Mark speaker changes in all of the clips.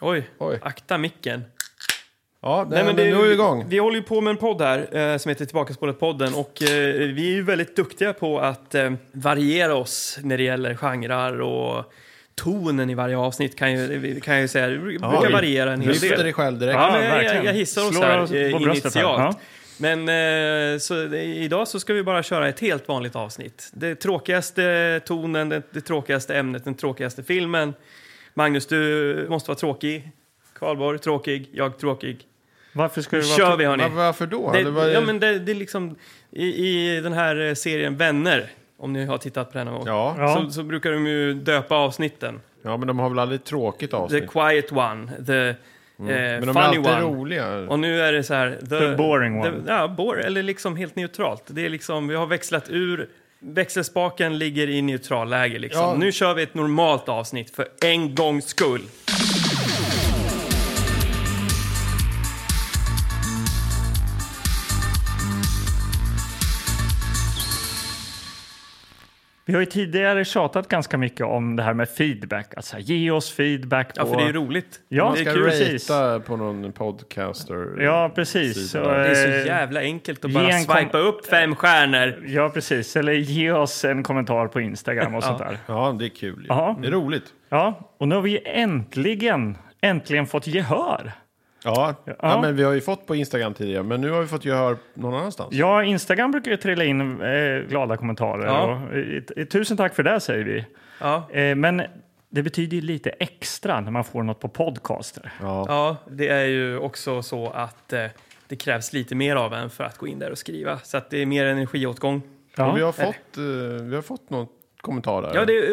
Speaker 1: Oj,
Speaker 2: Oj.
Speaker 1: akta micken.
Speaker 2: Ja, nej, men, nu är vi igång.
Speaker 1: Vi håller ju på med en podd här eh, som heter Tillbakaspolat-podden och eh, vi är ju väldigt duktiga på att eh, variera oss när det gäller genrer och tonen i varje avsnitt kan ju, kan jag ju säga. Vi brukar
Speaker 3: vi-
Speaker 1: variera en hel
Speaker 2: Lyfter
Speaker 1: del.
Speaker 2: dig själv direkt.
Speaker 1: Ja, men
Speaker 3: Ja,
Speaker 1: jag, jag,
Speaker 3: verkligen.
Speaker 1: jag hissar oss
Speaker 3: Slår
Speaker 1: här
Speaker 3: oss på
Speaker 1: eh,
Speaker 3: bröstet här.
Speaker 1: initialt. Men eh, så, det- idag så ska vi bara köra ett helt vanligt avsnitt. Det tråkigaste tonen, det, det tråkigaste ämnet, den tråkigaste filmen. Magnus, du måste vara tråkig. Karlborg, tråkig. Jag, tråkig.
Speaker 3: Varför ska
Speaker 1: Nu
Speaker 3: det vara...
Speaker 1: kör vi,
Speaker 2: Var,
Speaker 1: hörni.
Speaker 2: varför då?
Speaker 1: Det,
Speaker 2: Det var ju-
Speaker 1: ja, men det, det är liksom, i, I den här eh, serien Vänner, om ni har tittat på den någon gång,
Speaker 2: ja.
Speaker 3: Ja.
Speaker 1: så, så brukar de ju döpa avsnitten.
Speaker 2: ja, men de har väl aldrig tråkigt
Speaker 1: The
Speaker 2: avsnitt? Mm.
Speaker 1: quiet one, the eh,
Speaker 2: Men de är
Speaker 1: funny
Speaker 2: alltid
Speaker 1: one.
Speaker 2: roliga.
Speaker 1: Och nu är det så här...
Speaker 3: The boring one.
Speaker 1: the- ja, bore, eller liksom helt neutralt. Det är liksom, vi har växlat ur. Växelspaken ligger i neutral läge liksom.
Speaker 2: Ja.
Speaker 1: Nu kör vi ett normalt avsnitt för en gångs skull.
Speaker 3: Vi har ju tidigare tjatat ganska mycket om det här med feedback. Alltså ge oss feedback på...
Speaker 1: Ja, för det är ju roligt.
Speaker 3: Ja,
Speaker 2: Man
Speaker 3: det
Speaker 2: ska
Speaker 3: är kul precis.
Speaker 2: ratea på någon podcaster.
Speaker 3: Ja, precis.
Speaker 2: Sida.
Speaker 3: Så,
Speaker 1: Det är
Speaker 3: eh,
Speaker 1: så jävla enkelt att
Speaker 3: ge
Speaker 1: bara
Speaker 3: en kom-
Speaker 1: swipa upp fem stjärnor.
Speaker 3: Ja, precis. Eller ge oss en kommentar på Instagram och sånt där.
Speaker 2: Ja, det är kul. ju.
Speaker 3: Ja.
Speaker 2: Det är roligt.
Speaker 3: Ja, och nu har vi äntligen, äntligen fått gehör.
Speaker 2: Ja. Ja. men vi har ju fått på Instagram tidigare, men nu har vi fått gehör någon annanstans.
Speaker 3: Ja, Instagram brukar ju trilla in eh, glada kommentarer.
Speaker 1: Ja.
Speaker 3: Och, eh, eh, tusen tack för det, säger vi.
Speaker 1: Ja,
Speaker 3: Eh, men det betyder ju lite extra när man får något på podcaster.
Speaker 1: ja, det är ju också så att eh, det krävs lite mer av en för att gå in där och skriva. Så att det är mer energiåtgång.
Speaker 2: Och vi,
Speaker 3: Ja.
Speaker 2: har fått, eh, vi har fått någon kommentar där.
Speaker 1: Ja, det,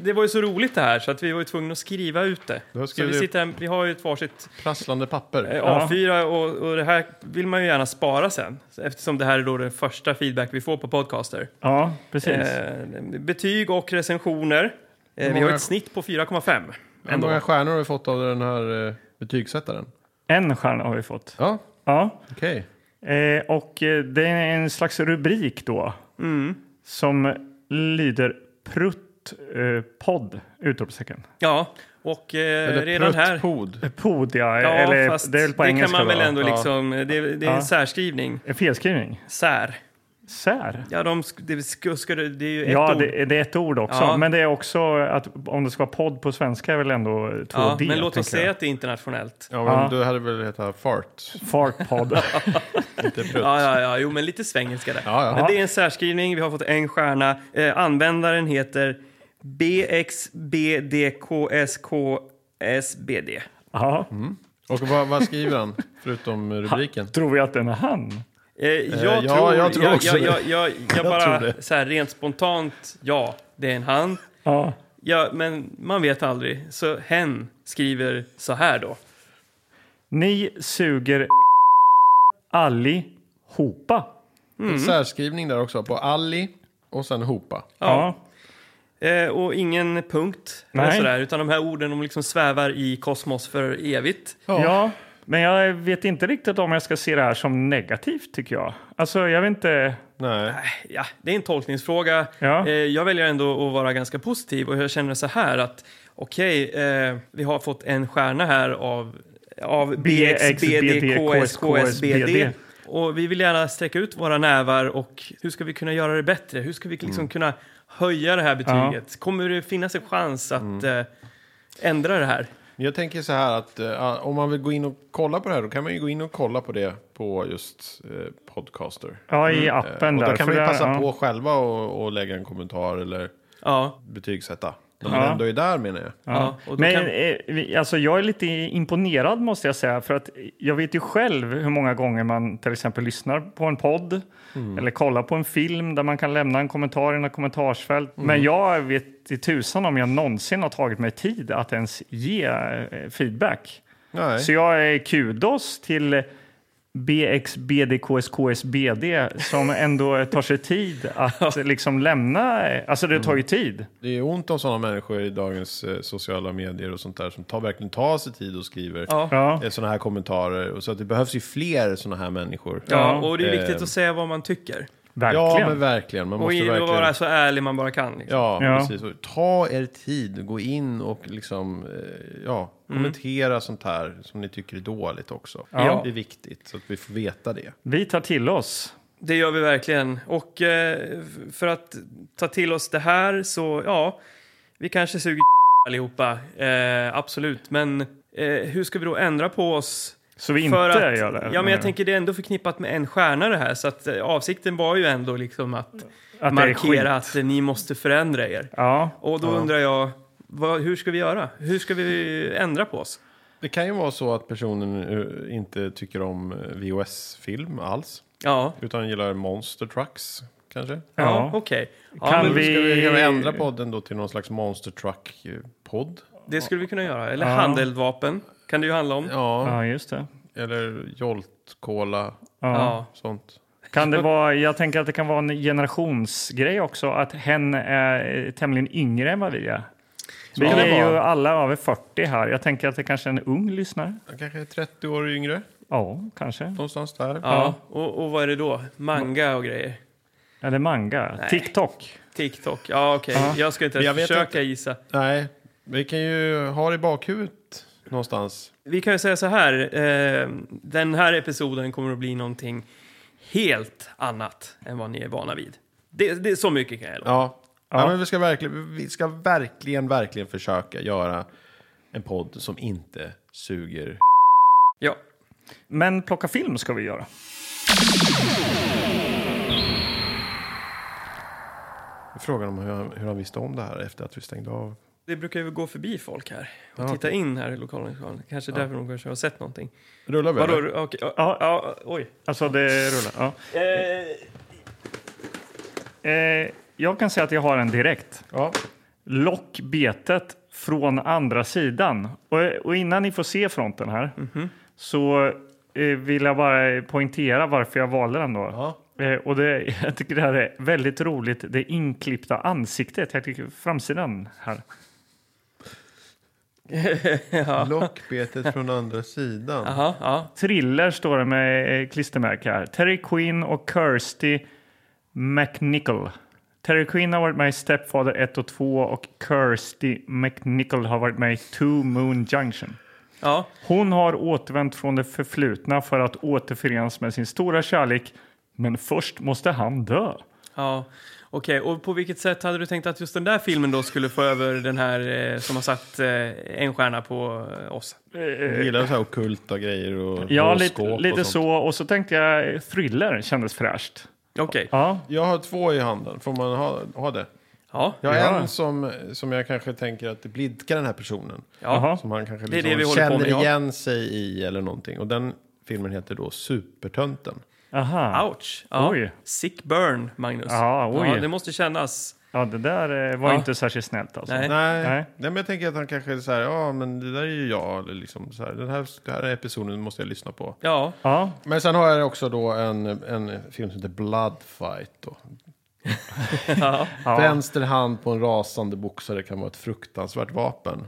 Speaker 1: det var ju så roligt det här så att vi var ju tvungna att skriva ut det.
Speaker 2: Då
Speaker 1: Så
Speaker 2: skrev
Speaker 1: vi,
Speaker 2: vi-
Speaker 1: sitter här, vi har ju ett varsitt
Speaker 2: Prasslande papper.
Speaker 1: Eh, A4 och, och det här vill man ju gärna spara sen eftersom det här är då den första feedback vi får på podcaster.
Speaker 3: ja, precis.
Speaker 1: Eh, betyg och recensioner. Eh, vi har
Speaker 2: många-
Speaker 1: ett snitt på 4,5.
Speaker 2: Hur
Speaker 1: Ändå.
Speaker 2: många stjärnor har vi fått av den här eh, betygssättaren?
Speaker 3: En stjärna har vi fått.
Speaker 2: Ja,
Speaker 3: Ja.
Speaker 2: okej.
Speaker 3: Eh, och eh, det är en slags rubrik då.
Speaker 1: Mm.
Speaker 3: Som lyder prutt eh, podd! Utropstecken.
Speaker 1: Ja, och eh,
Speaker 2: Eller
Speaker 1: redan här.
Speaker 2: pruttpod.
Speaker 3: Pod, ja.
Speaker 1: Eh, Ja,
Speaker 3: eller,
Speaker 1: fast
Speaker 3: det är väl på
Speaker 1: det kan
Speaker 3: engelska
Speaker 1: man
Speaker 3: då.
Speaker 1: väl ändå
Speaker 2: Ja.
Speaker 1: liksom, det, det är en
Speaker 3: Ja.
Speaker 1: särskrivning.
Speaker 3: En felskrivning.
Speaker 1: Sär.
Speaker 3: Sär.
Speaker 1: Ja, de, sk- det, sk- ska, det, det är ju ett
Speaker 3: ja,
Speaker 1: ord.
Speaker 3: Det, det är ett ord också.
Speaker 1: Ja.
Speaker 3: Men det är också att om det ska vara podd på svenska är väl ändå två
Speaker 1: ja,
Speaker 3: D.
Speaker 1: men låt oss
Speaker 3: tänker jag.
Speaker 1: säga att det är internationellt.
Speaker 2: Ja, men
Speaker 3: Ja.
Speaker 2: du hade väl hetat fart,
Speaker 3: Fartpodd.
Speaker 2: inte prutt.
Speaker 1: Ja, ja, ja, jo, men lite svengelska där.
Speaker 2: Ja, ja.
Speaker 1: Men det är en särskrivning, vi har fått en stjärna. Eh, användaren heter BXBDKSKSBD.
Speaker 3: ja.
Speaker 1: Mm.
Speaker 2: Och vad, vad skriver han, förutom rubriken?
Speaker 3: Tror vi att den är han?
Speaker 1: Eh, jag,
Speaker 2: ja,
Speaker 1: tror,
Speaker 2: jag tror också
Speaker 1: jag,
Speaker 2: det.
Speaker 1: jag, jag, jag
Speaker 2: Jag tror
Speaker 1: bara
Speaker 2: det.
Speaker 1: så här rent spontant, ja, det är en han.
Speaker 3: Ja.
Speaker 1: Ja, men man vet aldrig. Så hen skriver så här då.
Speaker 3: Ni suger allihopa. mm.
Speaker 2: Särskrivning där också, på Ali och sen hopa.
Speaker 3: Ja.
Speaker 1: Eh, och ingen punkt, eller
Speaker 3: Nej.
Speaker 1: sådär, utan de här orden de liksom svävar i kosmos för evigt.
Speaker 3: Ja. Men jag vet inte riktigt om jag ska se det här som negativt tycker jag. Alltså jag vet inte.
Speaker 2: Nej.
Speaker 1: Eh, Ja, det är en tolkningsfråga.
Speaker 3: Ja.
Speaker 1: Eh, jag väljer ändå att vara ganska positiv och jag känner så här att okej, eh, vi har fått en stjärna här av, av BXBDKSKSBD. Och vi vill gärna sträcka ut våra nävar och hur ska vi kunna göra det bättre? Hur ska vi liksom
Speaker 3: Mm.
Speaker 1: kunna höja det här betyget? Kommer det finnas en chans att
Speaker 3: Mm.
Speaker 1: eh, ändra det här?
Speaker 2: Men Jag tänker så här att eh, om man vill gå in och kolla på det här då kan man ju gå in och kolla på det på just eh, Podcaster. Eh,
Speaker 3: Ja, i appen
Speaker 2: Mm. och
Speaker 3: där.
Speaker 2: då kan
Speaker 3: för
Speaker 2: vi
Speaker 3: där-
Speaker 2: passa
Speaker 3: ja.
Speaker 2: på själva och, och lägga en kommentar eller
Speaker 1: Ja.
Speaker 2: betygsätta. När man ändå är där menar jag.
Speaker 1: Ja, och då
Speaker 3: Men
Speaker 1: kan-
Speaker 3: eh, vi- alltså, jag är lite imponerad måste jag säga för att jag vet ju själv hur många gånger man till exempel lyssnar på en podd
Speaker 2: Mm.
Speaker 3: eller kollar på en film där man kan lämna en kommentar i något kommentarsfält.
Speaker 2: Mm.
Speaker 3: Men jag vet i tusan om jag någonsin har tagit mig tid att ens ge eh, feedback.
Speaker 2: Nej.
Speaker 3: Så jag är kudos till BXBDKSKSBD som ändå tar sig tid att liksom lämna. Alltså det tar ju tid.
Speaker 2: Det är ont om sådana människor i dagens eh, sociala medier och sånt där som tar, verkligen tar sig tid och skriver
Speaker 1: Ja.
Speaker 3: Ja.
Speaker 2: sådana här kommentarer. Och så att det behövs ju fler sådana här människor.
Speaker 3: eh,
Speaker 1: Ja, och det är viktigt
Speaker 2: Ehm.
Speaker 1: att säga vad man tycker.
Speaker 3: Verkligen.
Speaker 2: Ja, men verkligen. Man
Speaker 1: Och
Speaker 2: måste
Speaker 1: i-
Speaker 2: verkligen...
Speaker 1: vara så ärlig man bara kan. Liksom.
Speaker 2: Ja,
Speaker 3: Ja.
Speaker 2: precis. Och Ta er tid, gå in och liksom, eh,
Speaker 1: Mm.
Speaker 2: ja, kommentera sånt här som ni tycker är dåligt också.
Speaker 3: Ja.
Speaker 2: Det är viktigt, så att vi får veta det.
Speaker 3: Vi tar till oss.
Speaker 1: Det gör vi verkligen. Och eh, f- för att ta till oss det här så, ja, vi kanske suger allihopa, eh, absolut. Men eh, hur ska vi då ändra på oss?
Speaker 3: Så vi inte
Speaker 1: För att,
Speaker 3: gör det.
Speaker 1: Ja, men jag tänker det är ändå förknippat med en stjärna det här. Så att eh, avsikten var ju ändå liksom att,
Speaker 3: att det är skit.
Speaker 1: markera att eh, ni måste förändra er.
Speaker 3: Ja,
Speaker 1: Och då undrar jag, vad, hur ska vi göra? Hur ska vi ändra på oss?
Speaker 2: Det kan ju vara så att personen eh, inte tycker om eh, VHS-film alls,
Speaker 1: Ja,
Speaker 2: utan gillar Monster Trucks, kanske.
Speaker 1: ja,
Speaker 3: Ja.
Speaker 1: okej. Ja,
Speaker 3: Kan
Speaker 1: men
Speaker 3: vi-
Speaker 2: Ska vi, kan vi ändra podden då till någon slags Monster Truck-podd?
Speaker 1: Det skulle vi kunna göra. Eller
Speaker 3: Ja.
Speaker 1: handeldvapen kan det ju handla om.
Speaker 2: Ja,
Speaker 3: ja just det.
Speaker 2: eller Jolt, Cola,
Speaker 3: Ja.
Speaker 1: Ja.
Speaker 2: sånt.
Speaker 3: Kan det vara, jag tänker att det kan vara en generationsgrej också, att hen är tämligen yngre än vad vi är. Vi
Speaker 2: kan det
Speaker 3: är ju
Speaker 2: vara.
Speaker 3: alla över 40 här. Jag tänker att det kanske är en ung lyssnare.
Speaker 2: Han kanske är 30 år yngre,
Speaker 3: Ja, kanske.
Speaker 2: någonstans där.
Speaker 1: Ja, och, och vad är det då? Manga och grejer?
Speaker 3: Eller manga.
Speaker 1: Nej.
Speaker 3: TikTok.
Speaker 1: TikTok? Ja, okej. Jag ska inte
Speaker 2: Men
Speaker 1: ens
Speaker 2: jag vet
Speaker 1: försöka gissa.
Speaker 2: Nej, vi kan ju ha det i bakhuvudet någonstans.
Speaker 1: Vi kan ju säga så här. Eh, den här episoden kommer att bli någonting helt annat än vad ni är vana vid. Det, det, så mycket kan jag lova.
Speaker 2: Ja, ja.
Speaker 3: Ja.
Speaker 2: men vi ska, verkligen, vi ska verkligen, verkligen försöka göra en podd som inte suger.
Speaker 1: Ja.
Speaker 3: Men plocka film ska vi göra.
Speaker 2: Frågan om hur han, hur han visste om det här efter att vi stängde av.
Speaker 1: Det brukar ju gå förbi folk här och
Speaker 2: Ja,
Speaker 1: titta in här i lokalen. Kanske därför de kanske har sett någonting.
Speaker 2: Rullar vi?
Speaker 1: Vadå?
Speaker 2: eller?
Speaker 1: Okej. Ja, ja, oj.
Speaker 3: Alltså det rullar. Ja. Eh, jag kan säga att jag har en direkt.
Speaker 2: Ja.
Speaker 3: Lockbetet från andra sidan. Och, och innan ni får se fronten här så eh, vill jag bara poängtera varför jag valde den då.
Speaker 2: Ja.
Speaker 3: Eh, och det, jag tycker det här är väldigt roligt. Det inklippta ansiktet. Jag tycker framsidan här.
Speaker 2: Lockbetet från andra sidan.
Speaker 1: Jaha, ja.
Speaker 3: Thriller står det med eh, klistermärke här. Terry Quinn och Kirsty McNichol. Terry Quinn har varit med i Stepfather 1 och 2 och Kirsty McNichol har varit med i Two Moon Junction.
Speaker 1: ja.
Speaker 3: Hon har återvänt från det förflutna för att återförenas med sin stora kärlek. Men först måste han dö.
Speaker 1: Ja, okej. Och på vilket sätt hade du tänkt att just den där filmen då skulle få över den här eh, som har satt eh, en stjärna på eh, oss?
Speaker 2: Du gillar så här ockulta grejer och
Speaker 3: Ja,
Speaker 2: horoskop
Speaker 3: lite, lite
Speaker 2: och sånt.
Speaker 3: så. Och så tänkte jag eh, thriller kändes fräscht.
Speaker 1: Okej.
Speaker 3: Ja,
Speaker 2: Jag har två i handen. Får man ha, ha det?
Speaker 1: Ja.
Speaker 2: Jag har
Speaker 3: Ja.
Speaker 2: en som, som jag kanske tänker att det blidkar den här personen.
Speaker 1: ja.
Speaker 3: Jaha.
Speaker 2: Som han kanske
Speaker 1: Det är det
Speaker 2: liksom
Speaker 1: vi håller på
Speaker 2: känner
Speaker 1: med, ja.
Speaker 2: igen sig i eller någonting. Och den filmen heter då Supertönten.
Speaker 3: aha.
Speaker 1: Ouch. Ja.
Speaker 3: Oj.
Speaker 1: Sick burn, Magnus.
Speaker 3: Ja, oj.
Speaker 1: det måste kännas.
Speaker 3: Ja, det där eh, var
Speaker 1: Ja.
Speaker 3: inte särskilt snällt alltså.
Speaker 1: Nej.
Speaker 2: Nej.
Speaker 3: Nej.
Speaker 2: Nej. men jag tänker att han kanske är så här, ja men det där är ju jag. Eller liksom så här, den här, den här episoden måste jag lyssna på.
Speaker 1: Ja.
Speaker 3: Ja,
Speaker 2: Men sen har jag också då en, en film som heter Bloodfight. Då.
Speaker 1: ja.
Speaker 2: Vänster hand på en rasande boxare kan vara ett fruktansvärt vapen.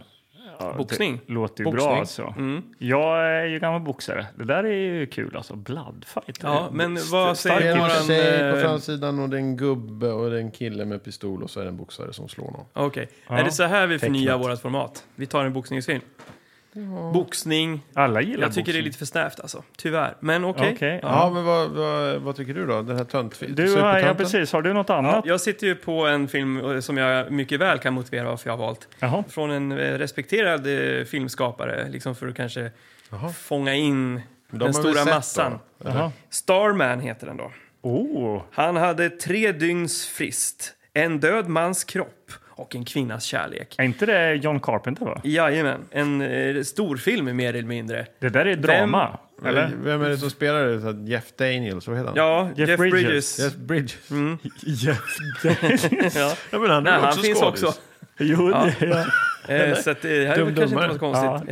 Speaker 1: Boxning. Mm.
Speaker 3: Låter ju
Speaker 2: Boxning.
Speaker 3: bra alltså. Jag är ju gammal boxare. Det där är ju kul alltså. Bloodfight. typ.
Speaker 1: Ja, men vad
Speaker 2: Det
Speaker 1: säger
Speaker 2: är
Speaker 1: våran...
Speaker 2: en tjej på
Speaker 1: eh,
Speaker 2: framsidan och det är en gubbe och det är en kille med pistol och så är det en boxare som slår någon.
Speaker 1: Okej. Är det så här vi förnyar
Speaker 2: Tecknat.
Speaker 1: vårt format? Vi tar en boxningsfilm. Boxning.
Speaker 3: Alla gillar
Speaker 1: Jag tycker det är
Speaker 3: boxning.
Speaker 1: lite för snävt alltså. Tyvärr. Men okej.
Speaker 3: Okej, ja.
Speaker 2: Ja, men vad, vad, vad tycker du då? Den här töntfilmen?
Speaker 3: Du, har- ja, precis. Har du något annat?
Speaker 1: Jag sitter ju på en film eh, som jag mycket väl kan motivera varför jag har valt.
Speaker 3: Jaha.
Speaker 1: från en eh, respekterad eh, filmskapare, liksom för att kanske fånga in
Speaker 2: har
Speaker 1: den
Speaker 2: vi
Speaker 1: stora
Speaker 2: sett då.
Speaker 1: massan.
Speaker 3: Jaha.
Speaker 1: Starman heter den då.
Speaker 3: Oh,
Speaker 1: Han hade tre dygns frist, en död mans kropp och en kvinnas kärlek.
Speaker 3: är inte det John Carpenter? Va?
Speaker 1: Jajamän, en eh, storfilm mer eller mindre.
Speaker 3: Det där är drama. Eller?
Speaker 2: Vem är det som spelar det? Så att Jeff Daniels, vad heter han?
Speaker 1: Ja, Jeff,
Speaker 3: Jeff
Speaker 1: Bridges.
Speaker 3: Bridges.
Speaker 2: Jeff Bridges.
Speaker 3: Jeff
Speaker 1: Ja.
Speaker 2: Ja, men han
Speaker 1: Nej, han finns
Speaker 2: skådis.
Speaker 1: också.
Speaker 3: Jo, ja. ja.
Speaker 1: Eh, så att, eh, det här
Speaker 2: Dum
Speaker 1: är väl kanske inte
Speaker 2: dummare.
Speaker 1: något konstigt.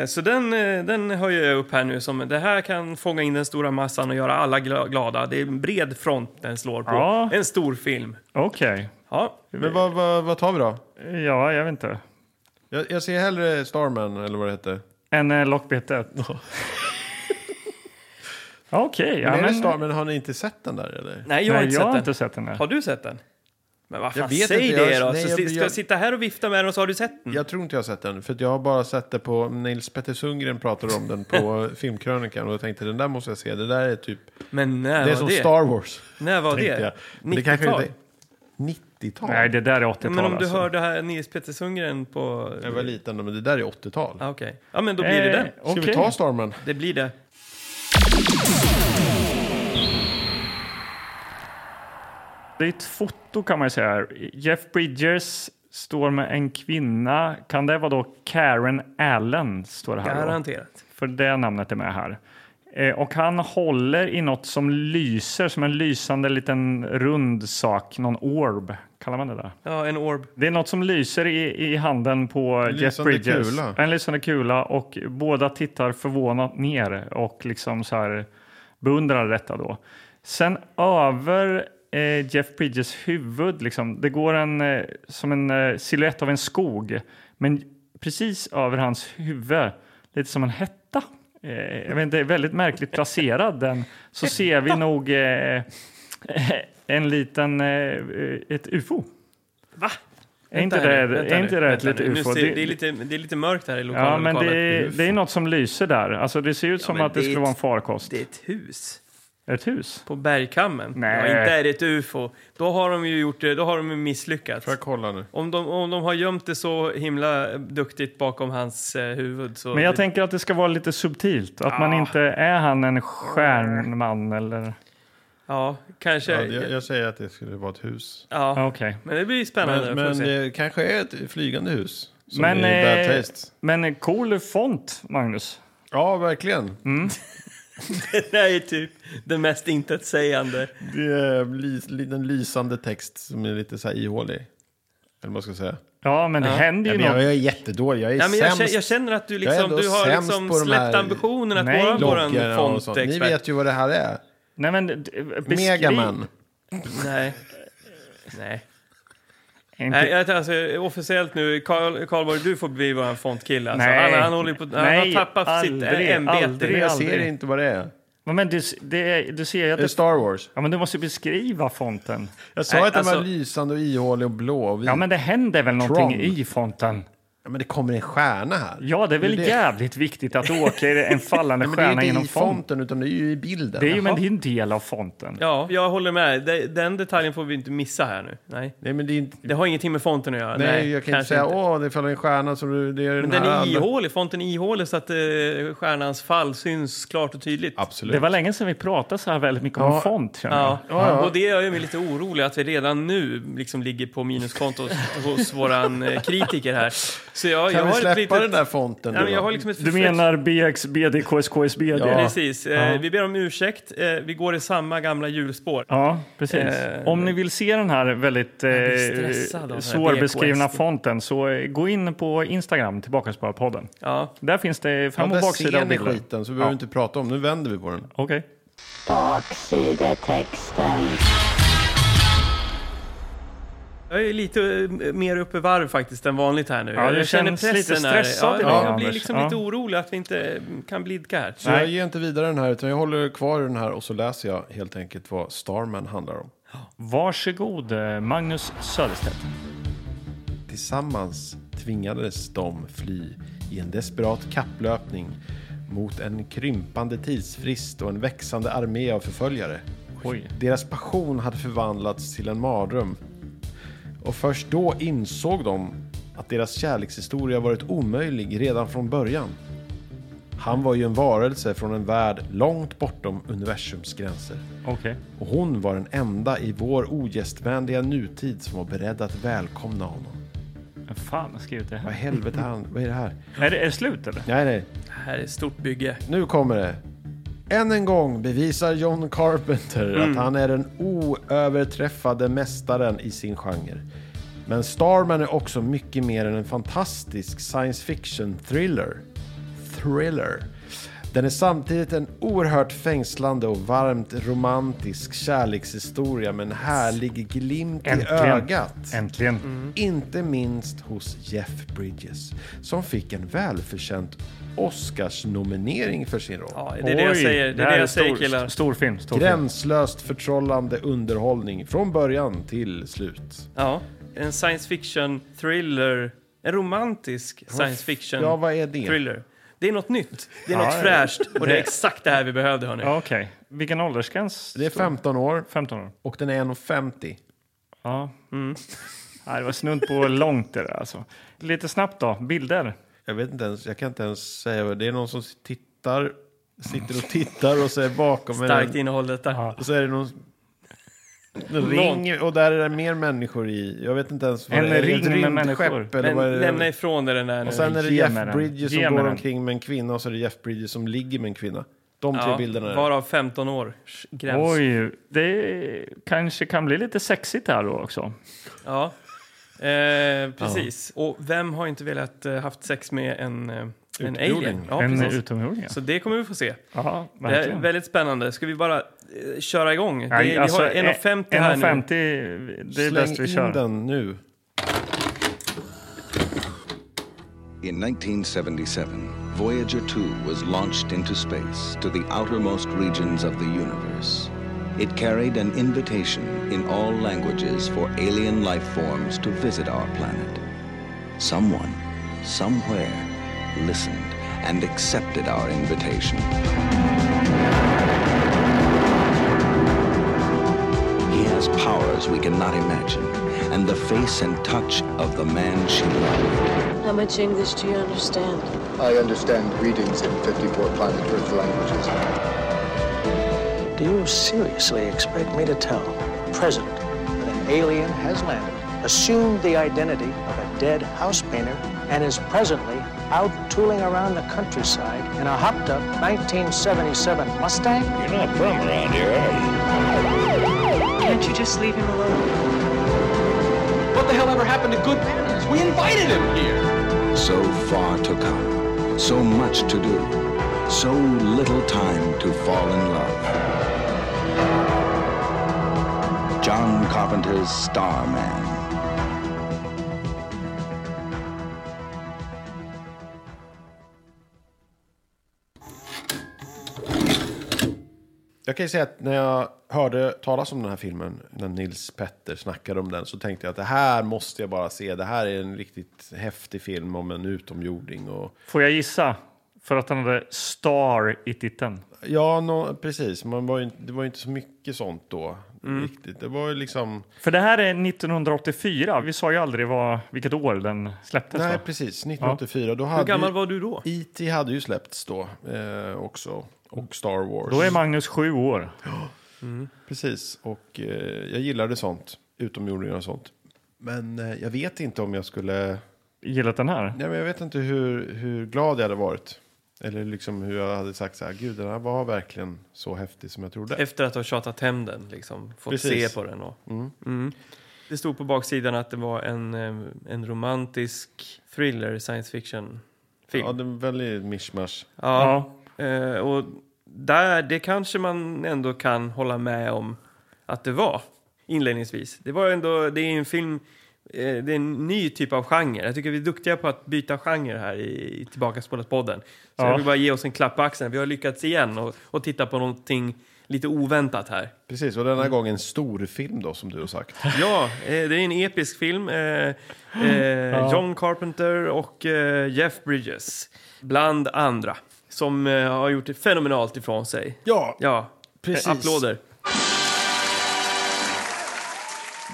Speaker 1: Eh, så den, eh, den höjer jag upp här nu som det här kan fånga in den stora massan och göra alla gla- glada. Det är en bred front den slår på.
Speaker 3: Ja.
Speaker 1: En stor film.
Speaker 3: Okej.
Speaker 1: Ja,
Speaker 3: Mm.
Speaker 2: Men vad, vad, vad tar vi då?
Speaker 3: Ja, jag vet inte.
Speaker 2: Jag, jag ser
Speaker 3: eh,
Speaker 2: hellre Starman, eller vad det hette.
Speaker 3: En eh, lockbetet. Ja, Okej,
Speaker 2: men,
Speaker 3: ja,
Speaker 2: är det
Speaker 3: men, Mm.
Speaker 2: Star, men har ni inte sett den där eller?
Speaker 1: Nej, jag har
Speaker 3: nej,
Speaker 1: inte
Speaker 3: jag har
Speaker 1: sett
Speaker 3: inte
Speaker 1: den.
Speaker 3: sett den. här.
Speaker 1: Har du sett den? Men vad fan,
Speaker 2: Jag vet
Speaker 1: säg
Speaker 2: inte,
Speaker 1: det
Speaker 2: jag-
Speaker 1: då!
Speaker 2: nej,
Speaker 1: så
Speaker 2: jag-
Speaker 1: si- ska
Speaker 2: jag-
Speaker 1: jag sitta här och vifta med den och så har du sett den?
Speaker 2: Jag tror inte jag har sett den, för att jag har bara sett det på Nils Petter Sundgren pratade om den på filmkrönikan och jag tänkte den där måste jag se, det där är typ,
Speaker 1: Men när
Speaker 2: det är
Speaker 1: var
Speaker 2: som
Speaker 1: det?
Speaker 2: Star Wars.
Speaker 1: när var
Speaker 2: tänkte
Speaker 1: det?
Speaker 2: jag. Men det kanske
Speaker 1: 90-tal?
Speaker 2: inte... 90-tal?
Speaker 3: Nej, det där är 80-tal.
Speaker 1: Men om du
Speaker 3: alltså.
Speaker 1: hör det här Nils Petter Sundgren på...
Speaker 2: Jag var liten, men det där är 80-tal.
Speaker 1: Ah, Okej. Ja, men då blir det
Speaker 3: Eh,
Speaker 1: den.
Speaker 2: Ska vi
Speaker 3: okej.
Speaker 2: ta Starman?
Speaker 1: Det blir det.
Speaker 3: Det är ett foto kan man ju säga. här. Jeff Bridges står med en kvinna. Kan det vara då Karen Allen? Står det här då?
Speaker 1: Garanterat.
Speaker 3: För det namnet är med här. Eh, Och han håller i något som lyser, som en lysande liten rund sak, någon orb. Kallar man det där?
Speaker 1: Ja, en orb.
Speaker 3: Det är något som lyser i, i handen på Jeff
Speaker 2: lysande
Speaker 3: Bridges.
Speaker 2: kula.
Speaker 3: En lysande kula. Och båda tittar förvånat ner och liksom så här beundrar detta då. Sen över eh, Jeff Bridges huvud, liksom, det går en, eh, som en eh, silhuett av en skog. Men precis över hans huvud, lite som en hetta. Eh, jag vet inte, är väldigt märkligt placerad den. Så ser vi nog eh, en liten, eh, ett ufo.
Speaker 1: Va?
Speaker 3: Är inte
Speaker 1: Vänta här
Speaker 3: det,
Speaker 1: nu, vänta
Speaker 3: är
Speaker 1: nu,
Speaker 3: inte det ett
Speaker 1: vänta
Speaker 3: litet
Speaker 1: nu. Nu
Speaker 3: ufo?
Speaker 1: ser-
Speaker 3: Det-
Speaker 1: Det är lite- det är lite mörkt här i lokalen.
Speaker 3: Ja, men det,
Speaker 1: lokalen.
Speaker 3: är- det är något som lyser där. Alltså, det ser ut som
Speaker 1: men
Speaker 3: att det,
Speaker 1: det är
Speaker 3: skulle
Speaker 1: ett-
Speaker 3: vara en farkost.
Speaker 1: Det är ett hus.
Speaker 3: Ett hus?
Speaker 1: På bergkammen?
Speaker 3: Nej.
Speaker 1: Ja, inte är det ett ufo. Då har de ju gjort det, då har de ju misslyckats.
Speaker 2: Får jag kolla nu?
Speaker 1: Om de, om de har gömt det så himla duktigt bakom hans eh, huvud så...
Speaker 3: Men jag
Speaker 1: det,
Speaker 3: tänker att det ska vara lite subtilt. Att man inte är han en stjärnman eller...
Speaker 1: Ja, kanske...
Speaker 2: Ja,
Speaker 1: Ja,
Speaker 2: jag, jag säger att det skulle vara ett hus.
Speaker 3: Ja, Okej.
Speaker 1: Men det blir spännande.
Speaker 2: Men,
Speaker 1: får vi
Speaker 2: men
Speaker 1: se.
Speaker 2: det kanske är ett flygande hus. Som
Speaker 3: Men,
Speaker 2: men, är bad
Speaker 3: eh,
Speaker 2: taste.
Speaker 3: Men cool font, Magnus.
Speaker 2: Ja, verkligen.
Speaker 1: Det här är typ det mest intetsägande.
Speaker 2: Det är ly- li- den lysande text som är lite så här ihålig. Eller vad man ska säga.
Speaker 3: Ja, men det händer
Speaker 2: Ja,
Speaker 3: ju
Speaker 2: men jag,
Speaker 3: något.
Speaker 2: jag är jättedålig, jag är
Speaker 1: Ja, men jag,
Speaker 2: sämst.
Speaker 1: känner, jag känner att du,
Speaker 2: är
Speaker 1: liksom,
Speaker 2: ändå
Speaker 1: du har
Speaker 2: sämst
Speaker 1: liksom
Speaker 2: på de här
Speaker 1: släppt ambitionen att
Speaker 3: Nej.
Speaker 1: vara vår
Speaker 2: Lockar och sånt. Ni
Speaker 1: fontexpert.
Speaker 2: vet ju vad det här är.
Speaker 3: Nej, men d- beskriv...
Speaker 2: Megaman.
Speaker 1: Nej. Nej.
Speaker 3: Inte...
Speaker 1: Nej, jag, alltså, officiellt nu, Karl- Karlborg, du får bli vår fontkille. Alltså,
Speaker 3: Nej.
Speaker 1: han, han, håller på, han
Speaker 3: Nej,
Speaker 1: har tappat sitt
Speaker 3: aldrig,
Speaker 1: eh, ämbete.
Speaker 3: aldrig.
Speaker 2: Men jag
Speaker 3: aldrig.
Speaker 2: ser inte vad det är.
Speaker 3: Men du, s- det, är- du ser ju att
Speaker 2: Det är
Speaker 3: det...
Speaker 2: Star Wars.
Speaker 3: Ja, men du måste beskriva fonten.
Speaker 2: Jag sa
Speaker 1: Nej,
Speaker 2: att den var
Speaker 1: alltså-
Speaker 2: lysande och ihålig och blå och vit.
Speaker 3: Ja, men det händer väl någonting
Speaker 2: Tron.
Speaker 3: i fonten?
Speaker 2: Ja, men det kommer en stjärna här.
Speaker 3: Ja, det är väl
Speaker 2: Det är det.
Speaker 3: jävligt viktigt att du åker en fallande
Speaker 2: men det är
Speaker 3: stjärna
Speaker 2: ju inte
Speaker 3: genom
Speaker 2: i
Speaker 3: font.
Speaker 2: fonten, utan det är ju i bilden.
Speaker 3: Det är ju men det är en del av fonten.
Speaker 1: Ja, jag håller med. De- Den detaljen får vi inte missa här nu. Nej.
Speaker 2: Nej, men det är inte...
Speaker 1: Det har ingenting med fonten att göra.
Speaker 2: Nej, jag kan inte
Speaker 1: kanske
Speaker 2: säga åh, det faller en stjärna så det det är
Speaker 1: Men
Speaker 2: den
Speaker 1: den
Speaker 2: här.
Speaker 1: är
Speaker 2: alla-"
Speaker 1: ihålig. Fonten är ihålig så att eh, stjärnans fall syns klart och tydligt.
Speaker 2: Absolut.
Speaker 3: Det var länge sedan vi pratade så här väldigt mycket
Speaker 2: Ja.
Speaker 3: om font. känner jag.
Speaker 1: Ja. Och det gör ju mig lite orolig att vi redan nu liksom ligger på minuskonto hos- hos våran eh, kritiker här. Så jag, jag
Speaker 2: Kan vi
Speaker 1: har ett
Speaker 2: släppa
Speaker 1: litet...
Speaker 2: den där fonten?
Speaker 1: Ja,
Speaker 2: då?
Speaker 1: men jag har liksom ett
Speaker 3: Du menar BX, BD, KSKS, BD?
Speaker 1: Ja,
Speaker 3: Ja,
Speaker 1: Precis. Eh, vi ber om ursäkt. Eh, vi går i samma gamla hjulspår.
Speaker 3: precis.
Speaker 1: Eh,
Speaker 3: om ni vill se den här väldigt eh,
Speaker 1: blir stressad av den här
Speaker 3: svårbeskrivna
Speaker 1: BKS.
Speaker 3: fonten så eh, gå in på Instagram, tillbaka på podden.
Speaker 1: Ja.
Speaker 3: Där finns det
Speaker 2: Ja,
Speaker 3: fram och
Speaker 2: där
Speaker 3: baksida
Speaker 2: ser
Speaker 3: av
Speaker 2: ni
Speaker 3: bilder.
Speaker 2: skiten, så vi behöver vi inte prata om Nu vänder vi på den.
Speaker 3: Okej.
Speaker 4: Baksidetexten.
Speaker 1: Jag är lite eh, mer uppe i varv faktiskt än vanligt här nu.
Speaker 3: Ja, det
Speaker 1: jag känner
Speaker 3: känns
Speaker 1: pressen
Speaker 3: lite
Speaker 1: här.
Speaker 3: stressad
Speaker 1: ja,
Speaker 3: idag,
Speaker 1: Jag blir
Speaker 3: Anders.
Speaker 1: liksom
Speaker 3: Ja.
Speaker 1: lite orolig att vi inte mm, kan blidka här.
Speaker 2: Så
Speaker 3: Nej.
Speaker 2: jag ger inte vidare den här, utan jag håller kvar i den här och så läser jag helt enkelt vad Starman handlar om.
Speaker 3: Varsågod, eh, Magnus Söderstedt.
Speaker 2: Tillsammans tvingades de fly i en desperat kapplöpning mot en krympande tidsfrist och en växande armé av förföljare.
Speaker 3: Oj.
Speaker 2: Deras passion hade förvandlats till en mardröm. Och först då insåg de att deras kärlekshistoria varit omöjlig redan från början. Han var ju en varelse från en värld långt bortom universums gränser.
Speaker 3: Okej.
Speaker 2: Och hon var den enda i vår ogästvänliga nutid som var beredd att välkomna honom.
Speaker 3: Vem Fan, har skrivit det
Speaker 2: Vad i
Speaker 3: här.
Speaker 2: helvete är han? Vad är det här?
Speaker 3: Är det, är det slut eller?
Speaker 2: Nej, nej.
Speaker 1: Det här är ett stort bygge.
Speaker 2: Nu kommer det. Än en gång bevisar John Carpenter att han är den oöverträffade mästaren i sin genre. Men Starman är också mycket mer än en fantastisk science fiction thriller. Thriller. Den är samtidigt en oerhört fängslande och varmt romantisk kärlekshistoria med en härlig glimt i ögat.
Speaker 3: Äntligen.
Speaker 1: Mm.
Speaker 2: Inte minst hos Jeff Bridges som fick en välförtjänt Oscarsnominering för sin roll.
Speaker 1: Ja, det är det jag säger, det är det
Speaker 3: här
Speaker 1: jag säger
Speaker 3: stor,
Speaker 1: killar.
Speaker 3: Stor film. Stor film.
Speaker 2: Gränslöst förtrollande underhållning från början till slut.
Speaker 1: Ja, en science fiction thriller. En romantisk science fiction
Speaker 2: Ja, vad är det?
Speaker 1: thriller. Det är något nytt, det är
Speaker 3: Ja,
Speaker 1: något
Speaker 3: ja.
Speaker 1: fräscht och det är
Speaker 3: Det-
Speaker 1: exakt det här vi behövde hörni.
Speaker 3: Ja, Okej. Vilken åldersgräns?
Speaker 2: Det är 15 år
Speaker 3: 15 år.
Speaker 2: och den är 1,50.
Speaker 3: Ja.
Speaker 1: Mm.
Speaker 3: Nej, det var snudd på långt det där alltså. Lite snabbt då, bilder.
Speaker 2: Jag vet inte ens, jag kan inte ens säga vad det är. någon som tittar, sitter och tittar och så är bakom
Speaker 1: Starkt
Speaker 2: en,
Speaker 1: innehåll detta.
Speaker 3: Ja.
Speaker 2: och så är det någon en ring och där är det mer människor i. Jag vet inte ens vad
Speaker 3: En
Speaker 2: det är. Är det
Speaker 3: ring
Speaker 2: ett
Speaker 3: med
Speaker 2: rymdskepp
Speaker 3: människor.
Speaker 2: Eller
Speaker 1: Men
Speaker 2: vad är det?
Speaker 1: lämna ifrån dig den där nu.
Speaker 2: Och sen är det
Speaker 3: Eh, Ge
Speaker 2: Jeff
Speaker 3: mig den.
Speaker 2: Bridges
Speaker 3: Ge
Speaker 2: som
Speaker 3: mig
Speaker 2: går
Speaker 3: den.
Speaker 2: omkring med en kvinna och så är det Jeff Bridges som ligger med en kvinna. De tre
Speaker 1: Ja,
Speaker 2: bilderna är det.
Speaker 1: Varav 15 år gräns.
Speaker 3: Oj, det kanske kan bli lite sexigt här då också.
Speaker 1: Ja. Eh, precis. Och vem har inte velat eh, haft sex med en, eh, en
Speaker 2: Utomjording.
Speaker 1: alien? Ja,
Speaker 3: en
Speaker 1: precis.
Speaker 3: utomjording.
Speaker 1: Så det kommer vi få se.
Speaker 3: Ja,
Speaker 1: Det är
Speaker 3: verkligen.
Speaker 1: väldigt spännande. Ska vi bara eh, köra igång?
Speaker 3: Nej,
Speaker 1: det,
Speaker 3: alltså,
Speaker 1: vi har 1,50 här nu.
Speaker 3: 1,50, det är
Speaker 2: Släng
Speaker 3: bäst vi
Speaker 2: in
Speaker 3: kör.
Speaker 2: den nu.
Speaker 4: In 1977, Voyager 2 was launched into space to the outermost regions of the universe. It carried an invitation in all languages for alien life forms to visit our planet. Someone, somewhere, listened and accepted our invitation. He has powers we cannot imagine, and the face and touch of the man she loved.
Speaker 5: How much English do you understand?
Speaker 6: I understand greetings in 54 planet Earth languages.
Speaker 7: Do you seriously expect me to tell President that an alien has landed, assumed the identity of a dead house painter, and is presently out tooling around the countryside in a hopped-up 1977 Mustang?
Speaker 8: Can't you just leave him alone?
Speaker 4: So far to come, so much to do, so little time to fall in love. John Carpenter's Starman.
Speaker 2: Jag kan ju säga att när jag hörde talas om den här filmen, när Nils Petter snackade om den, så tänkte jag att det här måste jag bara se. Det här är en riktigt häftig film om en utomjording. Och...
Speaker 3: Får jag gissa? För att han hade star i titeln.
Speaker 2: Ja, nå- precis. Man var ju, inte- det var ju inte så mycket sånt då.
Speaker 3: Mm.
Speaker 2: Riktigt. Det var ju liksom...
Speaker 3: För det här är 1984. Vi sa ju aldrig vad, vilket år den släpptes.
Speaker 2: Nej,
Speaker 3: va?
Speaker 2: precis. 1984. Då hade
Speaker 1: Hur gammal var du då?
Speaker 2: ju... E.T. hade ju släppts då eh, också. Och Star Wars.
Speaker 3: Då är Magnus sju år.
Speaker 2: Precis, och eh, jag gillade sånt. Utomjordingar och sånt. Men eh, jag vet inte om jag skulle...
Speaker 3: Gillat den här?
Speaker 2: Nej, men jag vet inte hur, hur glad jag hade varit. Eller liksom hur jag hade sagt så här, gud den här var verkligen så häftig som jag trodde.
Speaker 1: Efter att ha tjatat hem den, liksom, fått
Speaker 2: Precis.
Speaker 1: se på den. Och, Mm. Det stod på baksidan att det var en, eh, en romantisk thriller science fiction film.
Speaker 2: Ja, det var väldigt mishmash.
Speaker 1: Ja. Eh, och där, det kanske man ändå kan hålla med om att det var inledningsvis. Det var ändå, det är en film, eh, det är en ny typ av genre. Jag tycker vi är duktiga på att byta genre här i, i Tillbaka podden. Så
Speaker 3: Ja.
Speaker 1: jag vill bara ge oss en klapp på axeln. Vi har lyckats igen och, och titta på någonting lite oväntat här.
Speaker 2: Precis, och denna
Speaker 1: Mm.
Speaker 2: gång en stor film då som du har sagt.
Speaker 1: Ja, eh, det är en episk film. Eh, eh, John Carpenter och eh, Jeff Bridges, bland andra, som eh, har gjort det fenomenalt ifrån sig.
Speaker 2: Ja,
Speaker 1: Ja,
Speaker 2: Precis.
Speaker 1: precis. Applåder.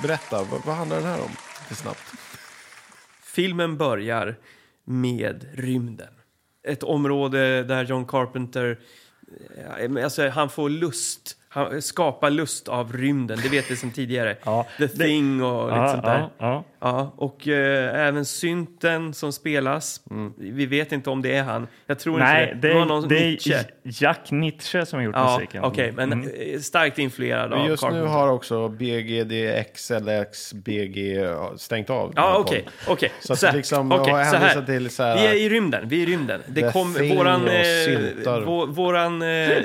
Speaker 2: berätta, vad, vad handlar den här om? Lite snabbt.
Speaker 1: Filmen börjar med rymden. Ett område där John Carpenter, eh, alltså han får lust, han skapar lust av rymden, det vet vi sedan tidigare.
Speaker 3: Ja,
Speaker 1: The Thing och lite
Speaker 3: Ja,
Speaker 1: sånt där.
Speaker 3: ja, ja.
Speaker 1: Ja, och eh, även synten som spelas. Vi vet inte om det är han. Jag tror
Speaker 3: Mm. Nej,
Speaker 1: inte det.
Speaker 3: det
Speaker 1: var
Speaker 3: är,
Speaker 1: någon
Speaker 3: det
Speaker 1: Nietzsche.
Speaker 3: är Jack Nietzsche som har gjort
Speaker 1: Ja,
Speaker 3: musiken.
Speaker 1: okej, men
Speaker 3: Mm.
Speaker 1: eh, starkt influerad av
Speaker 2: Just nu
Speaker 1: Carpenter.
Speaker 2: har också BGDXLXBG stängt av. den här
Speaker 1: Ja, okej.
Speaker 2: podden.
Speaker 1: okej.
Speaker 2: Så att
Speaker 1: här,
Speaker 2: liksom,
Speaker 1: okej,
Speaker 2: jag har
Speaker 1: så här.
Speaker 2: hänvisat till så här-
Speaker 1: Vi är i rymden. Vi är i rymden.
Speaker 2: The
Speaker 1: Det kom,
Speaker 2: Thing
Speaker 1: våran
Speaker 2: och
Speaker 1: eh,
Speaker 2: syntar.
Speaker 1: vå, våran eh, eh,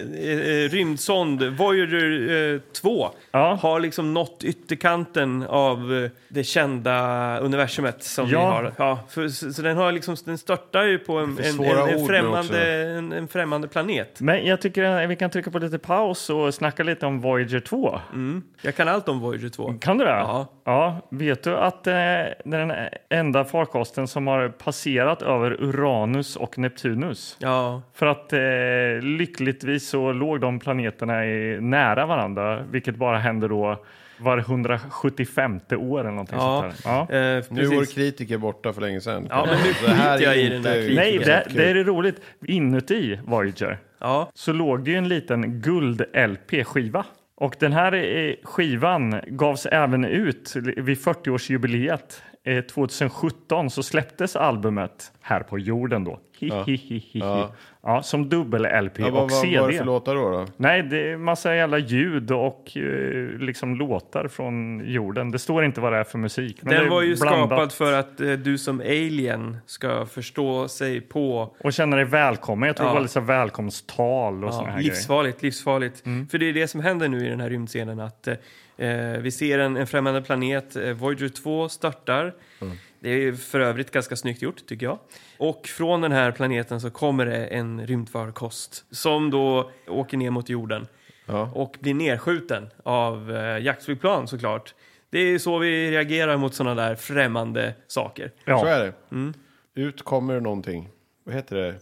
Speaker 1: rymdsond Voyager eh, 2
Speaker 3: Ja.
Speaker 1: har liksom nått ytterkanten av eh, det kända universumet som vi
Speaker 3: Ja.
Speaker 1: har. Ja, för, så, så den, har liksom, den störtar ju på en,
Speaker 2: Det är
Speaker 1: en,
Speaker 2: svåra
Speaker 1: en, en,
Speaker 2: ord
Speaker 1: främmande,
Speaker 2: nu
Speaker 1: en, en främmande planet.
Speaker 3: Men jag tycker att vi kan trycka på lite paus och snacka lite om Voyager 2.
Speaker 1: Jag kan allt om Voyager 2.
Speaker 3: Kan du det?
Speaker 1: Ja.
Speaker 3: ja. Vet du att eh, det är den enda farkosten som har passerat över Uranus och Neptunus?
Speaker 1: Ja,
Speaker 3: För att eh, lyckligtvis så låg de planeterna i, nära varandra, vilket bara händer då var 175 år eller någonting
Speaker 1: Ja.
Speaker 3: sånt där. Ja.
Speaker 1: eh,
Speaker 2: Nu är vår
Speaker 1: precis.
Speaker 2: kritiker borta för länge sedan.
Speaker 1: Ja, men nu
Speaker 2: Det här
Speaker 1: skiter jag
Speaker 2: är
Speaker 1: i den
Speaker 2: inte
Speaker 1: där
Speaker 2: riktigt
Speaker 3: Nej, det,
Speaker 2: kul.
Speaker 3: det är roligt. Inuti Voyager
Speaker 1: Ja,
Speaker 3: så låg det ju en liten guld-LP-skiva. Och den här eh, skivan gavs även ut vid 40-årsjubileet. Eh, 2017 så släpptes albumet här på jorden då. Ja. Ja. som dubbel-LP
Speaker 2: Ja, vad,
Speaker 3: och CD.
Speaker 2: vad var det för låtar då? då?
Speaker 3: Nej, det är massa jävla ljud och eh, liksom låtar från jorden. Det står inte vad det är för musik. Men det
Speaker 1: den
Speaker 3: är
Speaker 1: var ju
Speaker 3: blandat.
Speaker 1: skapad för att eh, du som alien ska förstå sig på
Speaker 3: Och känna dig välkommen. Jag tror
Speaker 1: Ja.
Speaker 3: det var lite så här välkomsttal och såna här grejer. Mm.
Speaker 1: livsfarligt, livsfarligt. För det är det som händer nu i den här rymdscenen. Att, eh, vi ser en, en främmande planet, eh, Voyager 2 störtar.
Speaker 3: Mm.
Speaker 1: Det är för övrigt ganska snyggt gjort, tycker jag. Och från den här planeten så kommer det en rymdfarkost som då åker ner mot jorden
Speaker 2: Ja.
Speaker 1: och blir nedskjuten av eh, jaktflygplan såklart. Det är så vi reagerar mot sådana där främmande saker.
Speaker 2: Så
Speaker 3: Ja.
Speaker 2: är det.
Speaker 1: Mm.
Speaker 2: Ut kommer någonting. Vad heter det?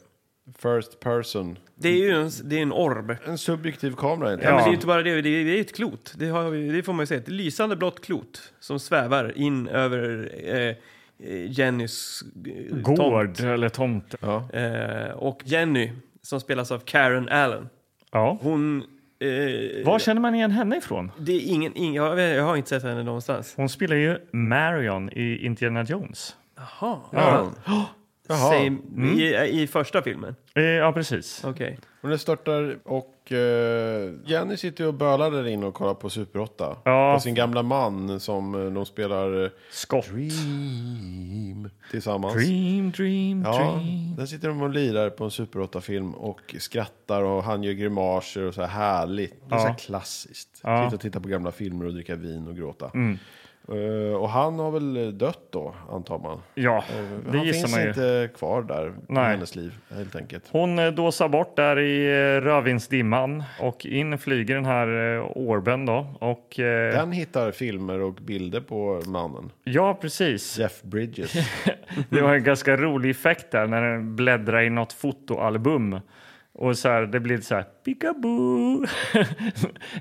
Speaker 2: First person.
Speaker 1: Det är ju en, det är en orb.
Speaker 2: En subjektiv kamera. inte?
Speaker 1: Ja. Men det är
Speaker 3: Ja.
Speaker 1: ju inte bara det, det är, det är ett klot. Det, har, vi- det får man ju säga. Ett lysande blått klot som svävar in över eh, eh, Jennys eh, tomt.
Speaker 3: Gård eller tomt.
Speaker 2: Ja.
Speaker 1: Eh, och Jenny, som spelas av Karen Allen,
Speaker 3: Ja.
Speaker 1: hon... Eh,
Speaker 3: Var känner man igen henne ifrån?
Speaker 1: det är ingen, ingen, jag, vet- jag har inte sett henne någonstans.
Speaker 3: Hon spelar ju Marion i Indiana Jones.
Speaker 1: Jaha.
Speaker 2: Ja. Jaha.
Speaker 1: Same,
Speaker 3: Mm.
Speaker 1: i, I första filmen?
Speaker 3: Eh, ja, precis.
Speaker 1: Okej.
Speaker 2: Och det störtar och eh, Jenny sitter ju och bölar där inne och kollar på Super 8.
Speaker 3: Ja.
Speaker 2: På sin gamla man som eh, de spelar eh,
Speaker 3: Scott.
Speaker 2: Dream tillsammans.
Speaker 3: Dream, dream,
Speaker 2: Ja,
Speaker 3: dream.
Speaker 2: där sitter de och lirar på en Super 8-film och skrattar och han gör grimaser och så här härligt. Det är så här klassiskt.
Speaker 3: Ja. Mm.
Speaker 2: Sitta och titta på gamla filmer och dricka vin och gråta. Eh, och han har väl dött då, antar man. Eh,
Speaker 3: Ja, det
Speaker 2: han
Speaker 3: gissar
Speaker 2: finns
Speaker 3: man ju.
Speaker 2: inte kvar där
Speaker 3: Nej.
Speaker 2: i hennes liv, helt enkelt.
Speaker 3: Hon eh, dåsar bort där i eh, rödvinsdimman och in flyger den här eh, orben då. Och, eh,
Speaker 2: Den hittar filmer och bilder på mannen.
Speaker 3: Ja, precis.
Speaker 2: Jeff Bridges.
Speaker 3: Det var en ganska rolig effekt där när den bläddrar i något fotoalbum. Och så här, det blir så här, peekaboo!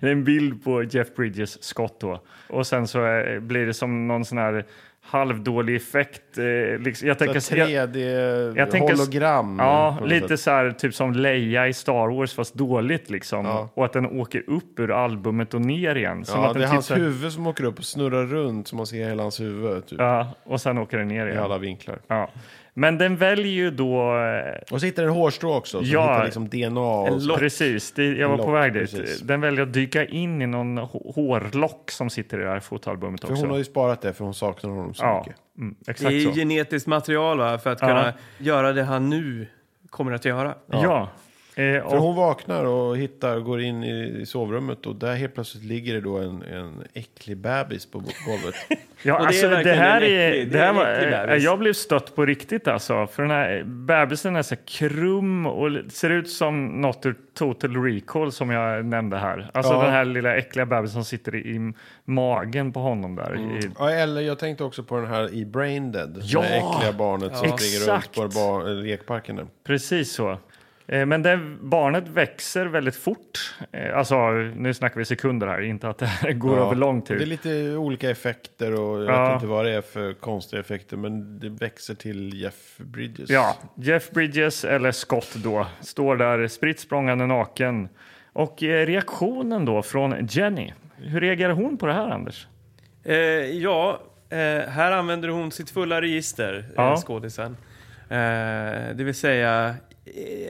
Speaker 3: det är en bild på Jeff Bridges skott då. Och sen så eh, blir det som någon sån här halvdålig effekt. eh, Liksom, jag tänker,
Speaker 2: Så
Speaker 3: jag,
Speaker 2: 3D,
Speaker 3: jag tänker-
Speaker 2: hologram.
Speaker 3: ja,
Speaker 2: på något
Speaker 3: lite
Speaker 2: sätt.
Speaker 3: så här, typ som Leia i Star Wars fast dåligt liksom.
Speaker 2: Ja.
Speaker 3: Och att den åker upp ur albumet och ner igen. Som
Speaker 2: Ja,
Speaker 3: att
Speaker 2: det
Speaker 3: den
Speaker 2: är
Speaker 3: typ
Speaker 2: hans
Speaker 3: så här-
Speaker 2: huvud som åker upp och snurrar runt så man ser hela hans huvud typ,
Speaker 3: Ja, och sen åker den ner
Speaker 2: i
Speaker 3: igen.
Speaker 2: alla vinklar.
Speaker 3: Ja. Men den väljer ju då eh,
Speaker 2: Och så hittar den hårstrå också, som
Speaker 3: Ja.
Speaker 2: hittar liksom DNA. Och så.
Speaker 3: Precis, det, jag var
Speaker 2: Lock,
Speaker 3: på väg dit.
Speaker 2: precis.
Speaker 3: Den väljer att dyka in i någon hå- hårlock som sitter i det här fotalbumet
Speaker 2: För
Speaker 3: också.
Speaker 2: hon har ju sparat det, för hon saknar honom så
Speaker 3: ja,
Speaker 2: mycket.
Speaker 3: mm,
Speaker 1: Det är
Speaker 3: exakt
Speaker 1: ju
Speaker 3: så.
Speaker 1: genetiskt material va, för att
Speaker 3: Ja.
Speaker 1: kunna göra det han nu kommer att göra.
Speaker 3: Ja. Eh,
Speaker 2: För
Speaker 3: och,
Speaker 2: hon vaknar och hittar och går in i i sovrummet och där helt plötsligt ligger det då en, en äcklig bebis på golvet.
Speaker 3: ja,
Speaker 1: det är
Speaker 3: alltså, det,
Speaker 1: verkligen
Speaker 3: här
Speaker 1: en
Speaker 3: är,
Speaker 1: äcklig- det
Speaker 3: det
Speaker 1: är
Speaker 3: här
Speaker 1: en
Speaker 3: var,
Speaker 1: äcklig
Speaker 3: eh,
Speaker 1: bebis.
Speaker 3: Jag blev stött på riktigt alltså. För den här bebisen är så här krum och li- ser ut som något ur Total Recall som jag nämnde här. Alltså
Speaker 2: Ja.
Speaker 3: den här lilla äckliga bebisen som sitter i, i magen på honom där.
Speaker 1: Mm.
Speaker 3: I,
Speaker 2: ja, eller jag tänkte också på den här i Brain Dead.
Speaker 3: Ja!
Speaker 2: Det här äckliga barnet som springer runt
Speaker 3: Exakt.
Speaker 2: på ba- lekparken där.
Speaker 3: Precis så. Eh, Men det, barnet växer väldigt fort. Eh, Alltså, nu snackar vi sekunder här, inte att det här går
Speaker 2: Ja.
Speaker 3: över lång
Speaker 2: Det är
Speaker 3: tid.
Speaker 2: lite olika effekter och jag
Speaker 3: Ja.
Speaker 2: vet inte vad det är för konstiga effekter men det växer till Jeff Bridges.
Speaker 3: Ja, Jeff Bridges, eller Scott då, står där spritt språngande naken. Och eh, reaktionen då från Jenny, hur reagerar hon på det här Anders?
Speaker 1: Eh, ja, eh, här använder hon sitt fulla register,
Speaker 3: Ja.
Speaker 1: eh, skådisen. Eh, det vill säga,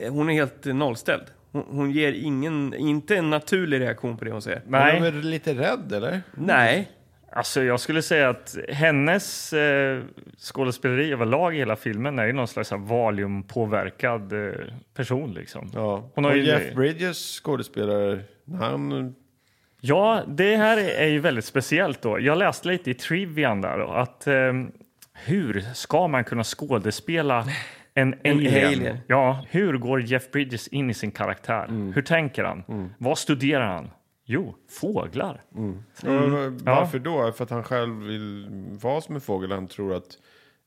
Speaker 1: eh, hon är helt eh, nollställd. Hon, hon ger ingen, inte en naturlig reaktion på det hon säger.
Speaker 2: Men hon är
Speaker 3: Nej,
Speaker 2: väl lite rädd eller?
Speaker 1: Nej,
Speaker 3: alltså jag skulle säga att hennes eh, skådespeleri överlag i hela filmen är ju någon slags så här valiumpåverkad eh, person liksom.
Speaker 2: Ja.
Speaker 3: Hon har
Speaker 2: och
Speaker 3: ju- Mm.
Speaker 2: Jeff Bridges skådespelare, han
Speaker 3: Ja, det här är ju väldigt speciellt. då. Jag läste lite i trivian där då, att eh, hur ska man kunna skådespela en, alien?
Speaker 1: alien. Mm.
Speaker 3: Ja, hur går Jeff Bridges in i sin karaktär? Hur tänker han? Vad studerar han? Jo, fåglar.
Speaker 1: Mm.
Speaker 2: Varför då? För att han själv vill vara som en fågel? Han tror att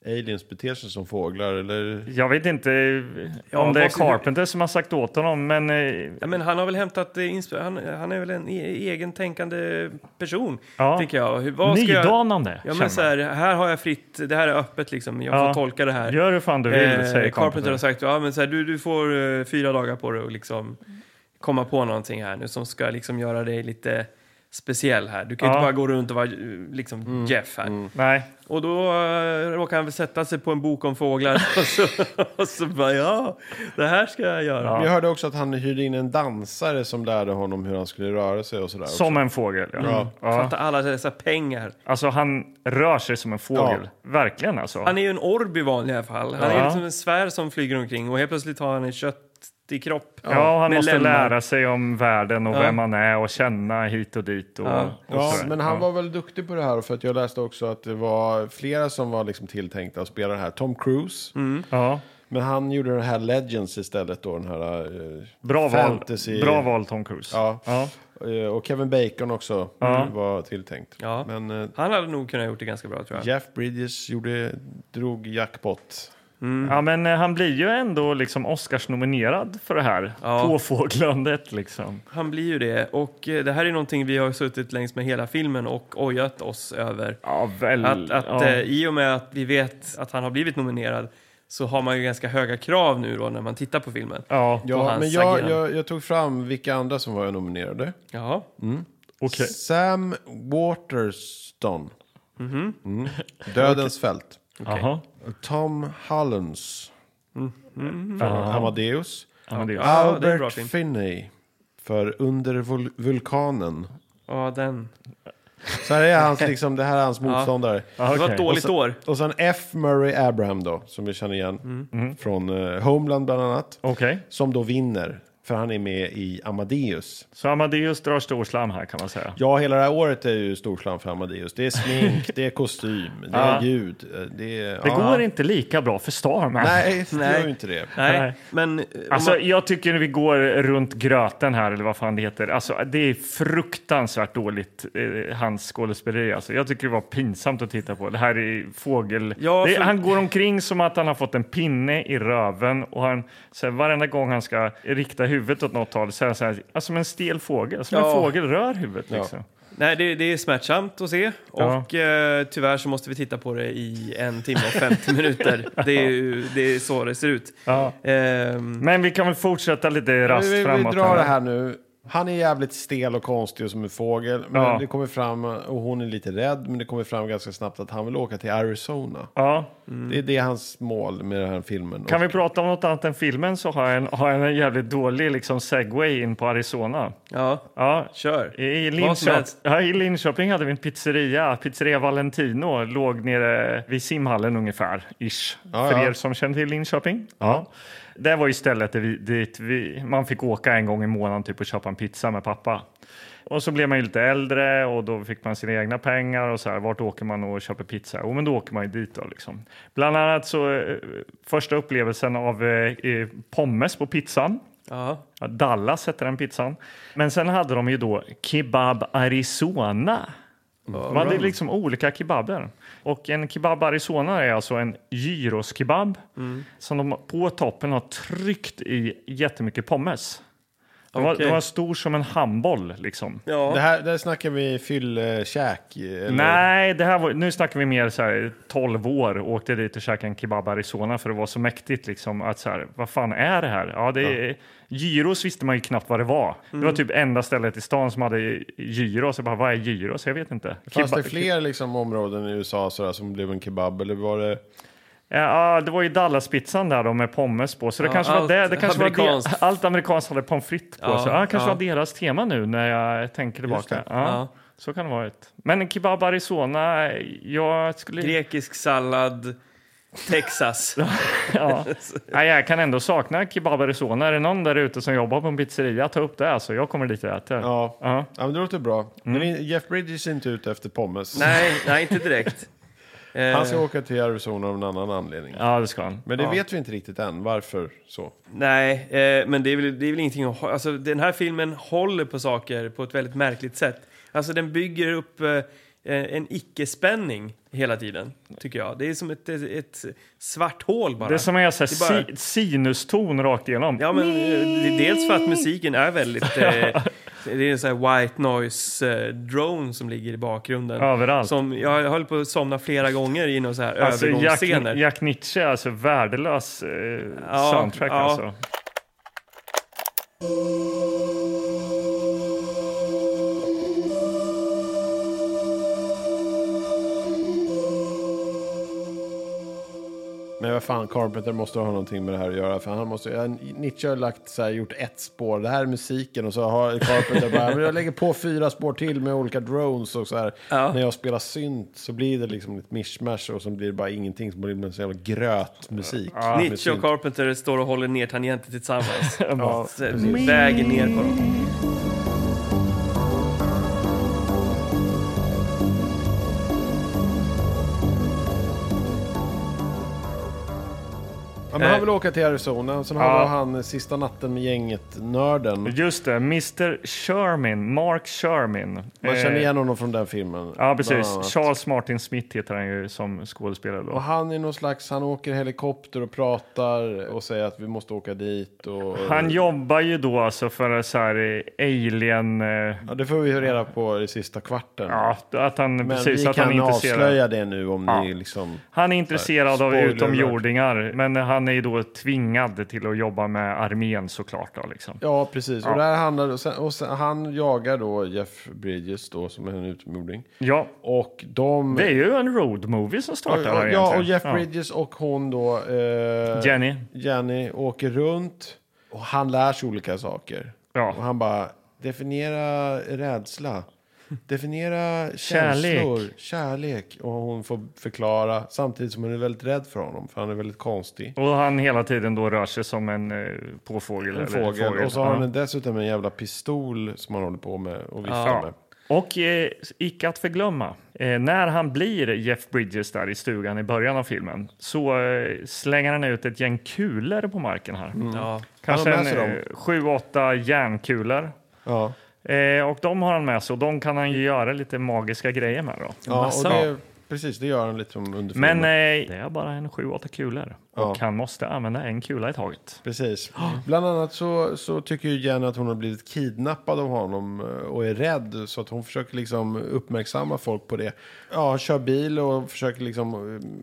Speaker 2: aliens beter sig som fåglar? Eller?
Speaker 3: Jag vet inte eh, om
Speaker 1: vad
Speaker 3: det är
Speaker 1: skulle-
Speaker 3: Carpenter som har sagt åt honom, men eh,
Speaker 1: Ja, men han har väl hämtat eh, insp- han, han är väl en e- egen tänkande person,
Speaker 3: Ja.
Speaker 1: tänker jag. Hur, vad ska jag...
Speaker 3: nydanande.
Speaker 1: Ja,
Speaker 3: känner
Speaker 1: men
Speaker 3: man.
Speaker 1: så här, här har jag fritt, det här är öppet liksom. Jag
Speaker 3: Ja.
Speaker 1: får tolka det här.
Speaker 3: Gör hur fan du vill,
Speaker 1: Eh,
Speaker 3: säger
Speaker 1: Carpenter har
Speaker 3: Carpenter.
Speaker 1: sagt ja, men så här, du, du får eh, fyra dagar på dig att liksom komma på någonting här nu som ska liksom göra dig lite speciell här. Du kan
Speaker 3: Ja.
Speaker 1: inte bara gå runt och vara eh, liksom Jeff här.
Speaker 3: Nej,
Speaker 1: Och då uh, råkar han väl sätta sig på en bok om fåglar och så, och så bara ja, det här ska jag göra.
Speaker 3: Ja.
Speaker 2: Jag hörde också att han hyrde in en dansare som lärde honom hur han skulle röra sig och sådär.
Speaker 3: som en fågel.
Speaker 1: Mm.
Speaker 3: Ja.
Speaker 2: Ja.
Speaker 3: Ja.
Speaker 1: Fatta alla dessa pengar.
Speaker 3: Alltså, han rör sig som en fågel. Verkligen alltså.
Speaker 1: Han är ju en orb i vanliga fall. Han
Speaker 3: Ja.
Speaker 1: är liksom en svär som flyger omkring och helt plötsligt har han en köttig kropp.
Speaker 3: Ja, han
Speaker 1: med
Speaker 3: måste
Speaker 1: lemmar.
Speaker 3: lära sig om världen och
Speaker 1: Ja.
Speaker 3: vem han är och känna hit och dit. Och,
Speaker 1: Ja.
Speaker 3: och
Speaker 2: Ja,
Speaker 3: sådär.
Speaker 2: men han
Speaker 3: Ja.
Speaker 2: var väl duktig på det här för att jag läste också att det var flera som var liksom tilltänkta att spela det här. Tom Cruise,
Speaker 3: Mm. Ja.
Speaker 2: men han gjorde den här Legends istället då, den här... eh,
Speaker 3: Bra, val.
Speaker 2: Fantasy.
Speaker 3: Bra val, Tom Cruise.
Speaker 2: Ja.
Speaker 3: Ja.
Speaker 2: eh, Och Kevin Bacon också var tilltänkt.
Speaker 1: Ja.
Speaker 2: Men eh,
Speaker 1: Han hade nog kunnat gjort det ganska bra tror jag.
Speaker 2: Jeff Bridges gjorde, drog jackpot.
Speaker 3: Ja, men eh, han blir ju ändå liksom Oscars-nominerad för det här
Speaker 1: Ja.
Speaker 3: påfåglandet. Liksom.
Speaker 1: Han blir ju det. Och eh, det här är någonting vi har suttit längs med hela filmen och ojat oss över.
Speaker 3: Ja, väl.
Speaker 1: Att, att
Speaker 3: Mm, ja.
Speaker 1: eh, i och med att vi vet att han har blivit nominerad så har man ju ganska höga krav nu då när man tittar på filmen.
Speaker 3: ja.
Speaker 1: på
Speaker 2: Ja,
Speaker 1: hans
Speaker 2: men jag,
Speaker 1: agerande.
Speaker 2: jag, jag tog fram vilka andra som var nominerade.
Speaker 1: Jaha.
Speaker 3: okej.
Speaker 2: Sam Waterston.
Speaker 1: Mhm.
Speaker 2: Mm. Dödens fält.
Speaker 3: Jaha.
Speaker 2: Tom Hollins. För Amadeus.
Speaker 3: Ja, men det är-
Speaker 1: Mhm. Ja, det är en bra
Speaker 2: Albert
Speaker 1: film.
Speaker 2: Finney. För Under vul- vulkanen.
Speaker 1: Ja, den.
Speaker 2: Så här är hans, liksom, det här är hans motståndare.
Speaker 3: Ja,
Speaker 1: Det var
Speaker 3: okej.
Speaker 1: ett dåligt år. Mm.
Speaker 2: Och sen F. Murray Abraham då, som vi känner igen. Från eh, Homeland bland annat.
Speaker 3: Okej.
Speaker 2: Som då vinner, för han är med i Amadeus.
Speaker 3: Så Amadeus drar storslam här kan man säga.
Speaker 2: Ja, hela det här året är ju storslam för Amadeus. Det är smink, det är kostym, det är ljud. eh, Det, är,
Speaker 3: Det
Speaker 2: ja.
Speaker 3: går inte lika bra för Starman.
Speaker 2: Nej, det
Speaker 1: Nej.
Speaker 2: gör ju inte det.
Speaker 1: Nej,
Speaker 3: Nej.
Speaker 1: men... eh, om
Speaker 3: Alltså,
Speaker 1: man,
Speaker 3: jag tycker vi går runt gröten här, eller vad fan det heter. Alltså, det är fruktansvärt dåligt, eh, hans skådespeleri. Alltså, jag tycker det var pinsamt att titta på. Det här är fågel...
Speaker 1: Ja,
Speaker 3: det,
Speaker 1: för-
Speaker 3: Han går omkring som att han har fått en pinne i röven. Och han, så här, varenda gång han ska rikta huvudet åt något håll så är han så här, alltså, som en stel fågel. Som en
Speaker 1: Ja.
Speaker 3: fågel rör huvudet. Liksom.
Speaker 1: nej det, det är smärtsamt att se.
Speaker 3: Ja.
Speaker 1: Och eh, tyvärr så måste vi titta på det i en timme och 50 minuter. Det är, ju, det är så det ser ut.
Speaker 3: Ja.
Speaker 1: Ehm,
Speaker 3: Men vi kan väl fortsätta lite
Speaker 2: Vi,
Speaker 3: rast
Speaker 2: vi, vi
Speaker 3: framåt.
Speaker 2: drar det här nu. Han är jävligt stel och konstig och som en fågel. Men
Speaker 3: Ja.
Speaker 2: det kommer fram, och hon är lite rädd, men det kommer fram ganska snabbt att han vill åka till Arizona.
Speaker 3: Ja.
Speaker 2: Det är det hans mål med den här filmen.
Speaker 3: Mm. Kan vi prata om något annat än filmen så har jag en, har jag en jävligt dålig liksom, segway in på Arizona.
Speaker 1: ja,
Speaker 3: Ja.
Speaker 1: kör.
Speaker 3: I,
Speaker 1: Vad som
Speaker 3: Linköp-
Speaker 1: helst.
Speaker 3: ja, I Linköping hade vi en pizzeria, Pizzeria Valentino, låg nere vid simhallen ungefär, ish.
Speaker 2: Ja,
Speaker 3: För
Speaker 2: ja.
Speaker 3: er som känner till Linköping.
Speaker 2: Ja.
Speaker 3: Det var ju stället där vi, dit vi, man fick åka en gång i månaden typ och köpa en pizza med pappa. Och så blev man ju lite äldre och då fick man sina egna pengar och så här, vart åker man och köper pizza? Jo, men då åker man ju dit då liksom. Bland annat så eh, första upplevelsen av eh, eh, pommes på pizzan.
Speaker 1: Ja.
Speaker 3: Ja, Dallas hette den pizzan. Men sen hade de ju då Kebab Arizona. De hade liksom olika kebaber. Och en kebab Arizona är alltså en gyroskebab som de på toppen har tryckt i jättemycket pommes. Den var,
Speaker 1: Okej.
Speaker 3: den var stor som en handboll liksom.
Speaker 2: Det
Speaker 1: Ja.
Speaker 2: här, där snackar vi fyllkäk. eller-
Speaker 3: Nej, det här var, nu snackar vi mer så här 12 år och åkte dit och käkade en kebab Arizona för det var så mäktigt liksom att så här, vad fan är det här? Ja, det är, gyros visste man ju knappt vad det var. Det var
Speaker 1: Mm.
Speaker 3: typ enda stället i stan som hade gyros. Jag bara, vad är gyros? Jag vet inte.
Speaker 2: Fanns
Speaker 3: Kebab-
Speaker 2: det fler liksom, områden i USA sådär, som blev en kebab? Eller var det...
Speaker 3: Ja, det var ju Dallaspizzan där då med pommes på. Så det
Speaker 1: Ja,
Speaker 3: kanske var
Speaker 1: allt
Speaker 3: det. det kanske var
Speaker 1: amerikanskt.
Speaker 3: det. Allt amerikanskt hade pommes frites på.
Speaker 1: Ja,
Speaker 3: så, ja, det kanske
Speaker 1: ja.
Speaker 3: var deras tema nu när jag tänker tillbaka.
Speaker 2: det.
Speaker 3: Ja,
Speaker 1: Ja.
Speaker 3: Så kan det vara. Ett. Men kebab Arizona, jag skulle...
Speaker 1: Grekisk sallad, Texas.
Speaker 3: Ja. Nej, jag kan ändå sakna Kebab Arizona. Är det någon där ute som jobbar på en pizzeria, ta upp det. Alltså, jag kommer dit och äter.
Speaker 2: Ja.
Speaker 3: Ja.
Speaker 2: ja, men det låter bra. Men Jeff Bridges är inte ute efter pommes.
Speaker 1: nej, nej, inte direkt. Eh,
Speaker 2: Han ska åka till Arizona av en annan anledning.
Speaker 3: ja, det ska han.
Speaker 2: Men det vet vi inte riktigt än, varför så.
Speaker 1: Nej, eh, men det är, väl, det är väl ingenting att... ha- Alltså, den här filmen håller på saker på ett väldigt märkligt sätt. Alltså, den bygger upp eh, en icke-spänning hela tiden, tycker jag. Det är som ett, ett svart hål bara.
Speaker 3: Det är som en sån här
Speaker 1: Det är bara-
Speaker 3: si- sinuston rakt igenom.
Speaker 1: Ja, men eh, det är dels för att musiken är väldigt... Eh, det är en sån här white noise-drone som ligger i bakgrunden.
Speaker 3: Överallt.
Speaker 1: Som, jag höll på att somna flera gånger i några så här
Speaker 3: Alltså, Jack,
Speaker 1: övergångsscener.
Speaker 3: Jack Nietzsche är alltså värdelös eh,
Speaker 1: Ja,
Speaker 3: soundtrack.
Speaker 1: ja.
Speaker 3: Alltså.
Speaker 2: Men vad fan, Carpenter måste ha någonting med det här att göra. För han måste, ja, Nietzsche har lagt, så här, gjort ett spår, det här är musiken. Och så har Carpenter bara, men jag lägger på fyra spår till med olika drones och så här. När jag spelar synt så blir det liksom ett mishmash och så blir det bara ingenting. Så blir det en sån jävla grötmusik. med
Speaker 1: Nietzsche och
Speaker 2: synt.
Speaker 1: Carpenter står och håller ner tangenter tillsammans.
Speaker 2: Ja,
Speaker 1: Så- Vägen ner på dem.
Speaker 2: Ja, men han vill åka till Arizona, sen har
Speaker 3: Ja.
Speaker 2: då han eh, sista natten med gänget, nörden.
Speaker 3: Just det, Mr Sherman, Mark Sherman.
Speaker 2: Man
Speaker 3: Eh,
Speaker 2: känner igen honom från den filmen.
Speaker 3: Ja,
Speaker 2: bland
Speaker 3: precis.
Speaker 2: annat.
Speaker 3: Charles Martin Smith heter han ju som skådespelare. Då.
Speaker 2: Och han är någon slags, han åker helikopter och pratar och säger att vi måste åka dit. Och,
Speaker 3: Han jobbar ju då alltså för en så här eh, alien... eh,
Speaker 2: ja, det får vi ju reda på i sista kvarten.
Speaker 3: Ja, att han,
Speaker 2: Men
Speaker 3: precis,
Speaker 2: vi
Speaker 3: att
Speaker 2: kan
Speaker 3: han är intresserad.
Speaker 2: avslöja det nu om ni liksom...
Speaker 3: Han är intresserad av
Speaker 2: Spoiler alert.
Speaker 3: utomjordingar, men han är ju då tvingad till att jobba med armén såklart. Då, liksom.
Speaker 2: Ja, precis. Och, där handlar, och, sen, och sen, han jagar då Jeff Bridges då, som är en utomjording.
Speaker 3: Ja,
Speaker 2: Och de...
Speaker 3: det är ju en road movie som startar här
Speaker 2: ja, ja,
Speaker 3: egentligen.
Speaker 2: och Jeff Bridges och hon då... Eh,
Speaker 3: Jenny.
Speaker 2: Jenny åker runt och han lär sig olika saker.
Speaker 3: Ja.
Speaker 2: Och han bara, definiera rädsla. Definiera
Speaker 3: Kärlek.
Speaker 2: känslor, kärlek. Och hon får förklara, samtidigt som hon är väldigt rädd för honom, för han är väldigt konstig.
Speaker 3: Och han hela tiden då rör sig som en eh, påfågel.
Speaker 2: En
Speaker 3: eller
Speaker 2: fågel. Och så
Speaker 3: Ja.
Speaker 2: har han dessutom en jävla pistol som han håller på med och viftar
Speaker 3: Ja.
Speaker 2: med.
Speaker 3: Och eh, icke att förglömma, eh, när han blir Jeff Bridges där i stugan i början av filmen så eh, slänger han ut ett gäng kulor på marken här.
Speaker 2: Mm.
Speaker 1: Ja.
Speaker 3: Kanske
Speaker 2: Han har med sig
Speaker 3: en, eh, sju, åtta järnkulor.
Speaker 2: Ja.
Speaker 3: Eh, och de har han med sig och de kan han ju göra lite magiska grejer med då.
Speaker 2: Ja, och
Speaker 1: Massa.
Speaker 2: det, precis, det gör han lite som under filmen.
Speaker 3: Men eh, det är bara en sju, åtta kulor och
Speaker 2: Ja.
Speaker 3: han måste använda en kula i taget.
Speaker 2: Precis. Bland annat så, så tycker ju Jenny att hon har blivit kidnappad av honom eh, och är rädd. Så att hon försöker liksom uppmärksamma folk på det. Ja, han kör bil och försöker liksom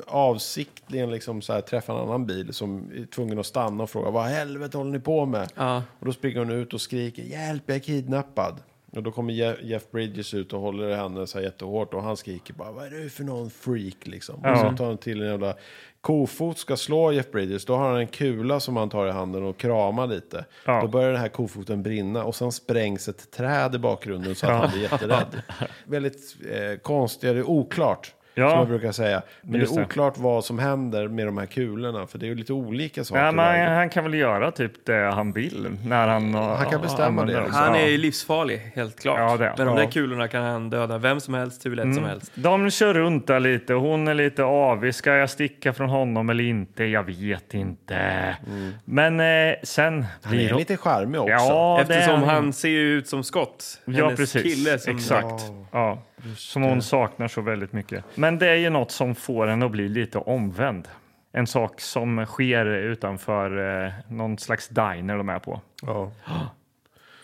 Speaker 2: eh, avsiktligen liksom så här träffa en annan bil som är tvungen att stanna och fråga vad helvete håller ni på med?
Speaker 1: Ja.
Speaker 2: Och då springer hon ut och skriker hjälp, jag är kidnappad. Och då kommer Je- Jeff Bridges ut och håller henne så här jättehårt och han skriker bara vad är du för någon freak liksom. Och så tar han till en jävla kofot ska slå Jeff Bridges. Då har han en kula som han tar i handen och kramar lite.
Speaker 3: Ja.
Speaker 2: Då börjar den här kofoten brinna och sen sprängs ett träd i bakgrunden så att han blir jätterädd. Väldigt eh, konstigt, det är oklart.
Speaker 3: Ja.
Speaker 2: Som man brukar säga. Men
Speaker 3: Just
Speaker 2: det
Speaker 3: det.
Speaker 2: är oklart vad som händer med de här kulorna. För det är ju lite olika saker.
Speaker 3: Nej,
Speaker 2: varje
Speaker 3: men han kan väl göra typ det han vill när han...
Speaker 2: Han kan bestämma
Speaker 3: använder
Speaker 2: det,
Speaker 3: dem.
Speaker 2: liksom.
Speaker 1: Han är
Speaker 3: Ja.
Speaker 1: ju livsfarlig, helt klart.
Speaker 3: Ja, Mm. det är han.
Speaker 1: Men de
Speaker 2: Ja.
Speaker 1: där kulorna kan han döda vem som helst, hur lätt som helst.
Speaker 3: De kör runt där lite. Hon är lite avig. Ska jag sticka från honom eller inte? Jag vet inte. Men eh, sen...
Speaker 2: Mm. Han är lite charmig också.
Speaker 3: Ja, det är
Speaker 1: Eftersom han ser ju ut som Scott.
Speaker 3: Ja,
Speaker 1: hennes
Speaker 3: precis.
Speaker 1: kille som...
Speaker 3: Exakt. Ja. Som hon saknar så väldigt mycket. Men det är ju något som får henne att bli lite omvänd. En sak som sker utanför eh, någon slags diner de är på.
Speaker 2: Ja.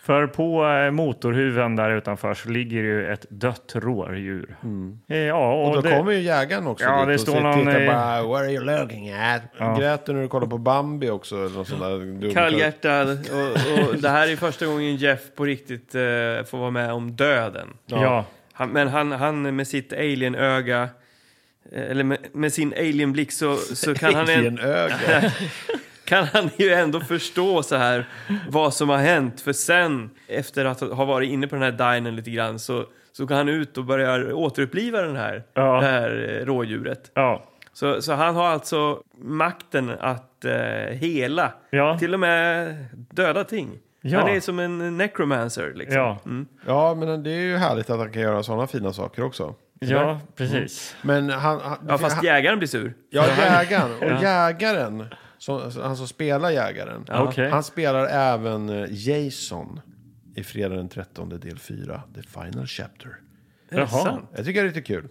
Speaker 3: För på eh, motorhuven där utanför så ligger ju ett dött rådjur. Eh, ja, och
Speaker 2: Och då
Speaker 3: det-
Speaker 2: kommer ju jägaren också
Speaker 3: Ja,
Speaker 2: dit
Speaker 3: det
Speaker 2: och
Speaker 3: står
Speaker 2: ser-
Speaker 3: någon
Speaker 2: tittar
Speaker 3: i-
Speaker 2: bara “What are you looking at?” Grät du när du kollade på Bambi också? Eller någon sån där dum-
Speaker 1: Kallhjärtad. Och, och det här är första gången Jeff på riktigt eh, får vara med om döden.
Speaker 3: ja.
Speaker 1: Han, men han, han med sitt alien-öga, eh, eller med, med sin alien-blick så, så kan, han en,
Speaker 2: Alien-öga.
Speaker 1: kan han ju ändå förstå så här vad som har hänt. För sen, efter att ha varit inne på den här dinern lite grann, så, så går han ut och börjar återuppliva den här,
Speaker 3: Ja.
Speaker 1: det här eh, rådjuret.
Speaker 3: ja.
Speaker 1: Så, så han har alltså makten att eh, hela,
Speaker 3: Ja.
Speaker 1: till och med döda ting.
Speaker 3: Ja.
Speaker 1: Han är som en necromancer. Liksom.
Speaker 3: Ja,
Speaker 2: Ja, men det är ju härligt att han kan göra sådana fina saker också.
Speaker 3: ja precis.
Speaker 2: Men han... han
Speaker 1: Ja, fast
Speaker 2: han,
Speaker 1: jägaren blir sur.
Speaker 2: ja, jägaren. Och jägaren, som, han som spelar jägaren,
Speaker 3: Okej.
Speaker 2: han spelar även eh, Jason i fredag den 13 del 4, The Final Chapter.
Speaker 1: Är det
Speaker 3: Jaha.
Speaker 1: sant?
Speaker 2: Jag tycker det är lite kul.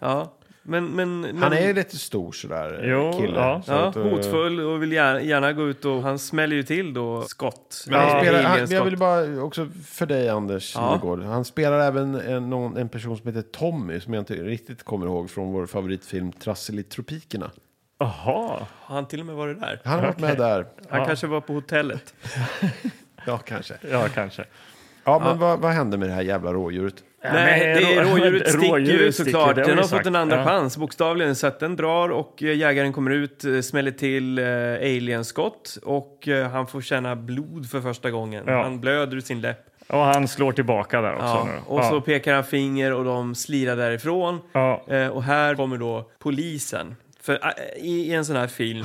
Speaker 1: Ja. Men, men, men,
Speaker 2: Han är ju lite stor sådär, eh,
Speaker 3: Jo,
Speaker 2: kille.
Speaker 3: ja.
Speaker 2: Så
Speaker 1: ja,
Speaker 2: att, eh,
Speaker 1: hotfull och vill gärna, gärna gå ut och han smäller ju till då skott.
Speaker 2: Men han
Speaker 1: Ja,
Speaker 2: spelar,
Speaker 1: alien
Speaker 2: han, jag
Speaker 1: skott.
Speaker 2: vill bara också för dig Anders
Speaker 1: Ja.
Speaker 2: Nygård. Han spelar även en, någon, en person som heter Tommy som jag inte riktigt kommer ihåg från vår favoritfilm Trassel i tropikerna.
Speaker 3: Jaha.
Speaker 1: Har han till och med varit där?
Speaker 2: Han har varit med där.
Speaker 1: Han
Speaker 3: Ja.
Speaker 1: kanske var på hotellet.
Speaker 2: Ja, kanske.
Speaker 3: Ja, kanske.
Speaker 2: Ja, men vad, vad hände med det här jävla rådjuret?
Speaker 1: Nej, det är
Speaker 3: rå-
Speaker 1: rådjuret sticker ju
Speaker 3: rådjuret sticker,
Speaker 1: såklart.
Speaker 3: det
Speaker 1: Den
Speaker 3: har vi
Speaker 1: har fått
Speaker 3: sagt.
Speaker 1: en andra
Speaker 3: Ja.
Speaker 1: chans bokstavligen. Så att den drar och eh, jägaren kommer ut, eh, smäller till eh, alienskott och eh, han får känna blod för första gången.
Speaker 3: Ja.
Speaker 1: Han blöder ur sin läpp.
Speaker 3: Och han slår tillbaka där också.
Speaker 1: Ja.
Speaker 3: nu.
Speaker 1: Och så pekar han finger och de slirar därifrån.
Speaker 3: Ja.
Speaker 1: Eh, och här kommer då polisen. För eh, i, i en sån här film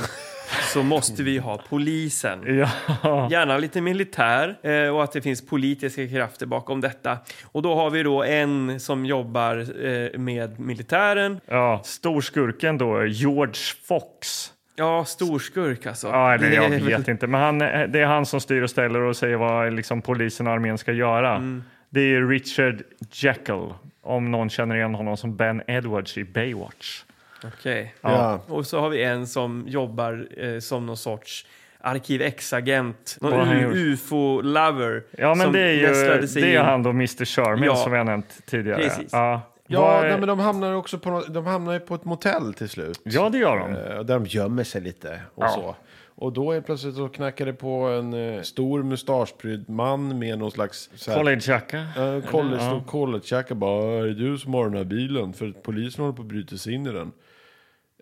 Speaker 1: så måste vi ha polisen.
Speaker 3: Ja. Ja.
Speaker 1: Gärna lite militär eh, och att det finns politiska krafter bakom detta. Och då har vi då en som jobbar eh, med militären.
Speaker 3: ja, storskurken då, George Fox.
Speaker 1: Ja, storskurk alltså.
Speaker 3: Ja, eller
Speaker 1: Det är
Speaker 3: jag
Speaker 1: väl-
Speaker 3: vet inte, men han, eh, det är han som styr och ställer och säger vad liksom, polisen och armén ska göra.
Speaker 1: Mm.
Speaker 3: Det är Richard Jekyll, om någon känner igen honom som Ben Edwards i Baywatch.
Speaker 1: Okej.
Speaker 2: Ja.
Speaker 1: Och så har vi en som jobbar eh, som någon sorts Arkiv X-agent,
Speaker 3: Vad har
Speaker 1: någon
Speaker 3: han
Speaker 1: U-
Speaker 3: gjort?
Speaker 1: ufo-lover.
Speaker 3: Ja, men
Speaker 1: som
Speaker 3: det är ju
Speaker 1: nästlade sig
Speaker 3: det är
Speaker 1: in.
Speaker 3: han då, Mr Sherman,
Speaker 1: Ja.
Speaker 3: som vi har nämnt tidigare.
Speaker 1: Precis.
Speaker 3: Ja,
Speaker 2: Ja,
Speaker 3: Vad-
Speaker 2: nej, men de hamnar ju också på, nå- de hamnar ju på ett motell till slut.
Speaker 3: ja det gör de.
Speaker 2: Eh, Där de gömmer sig lite och
Speaker 3: Ja.
Speaker 2: så. Och då är plötsligt så knackar det på en eh, stor mustaschprydd man med någon slags... så här-
Speaker 3: Collegejacka.
Speaker 2: Ja, Eh, College, ja. collegejacka bara, är det du som har den här bilen? För att polisen håller på att bryta sig in i den.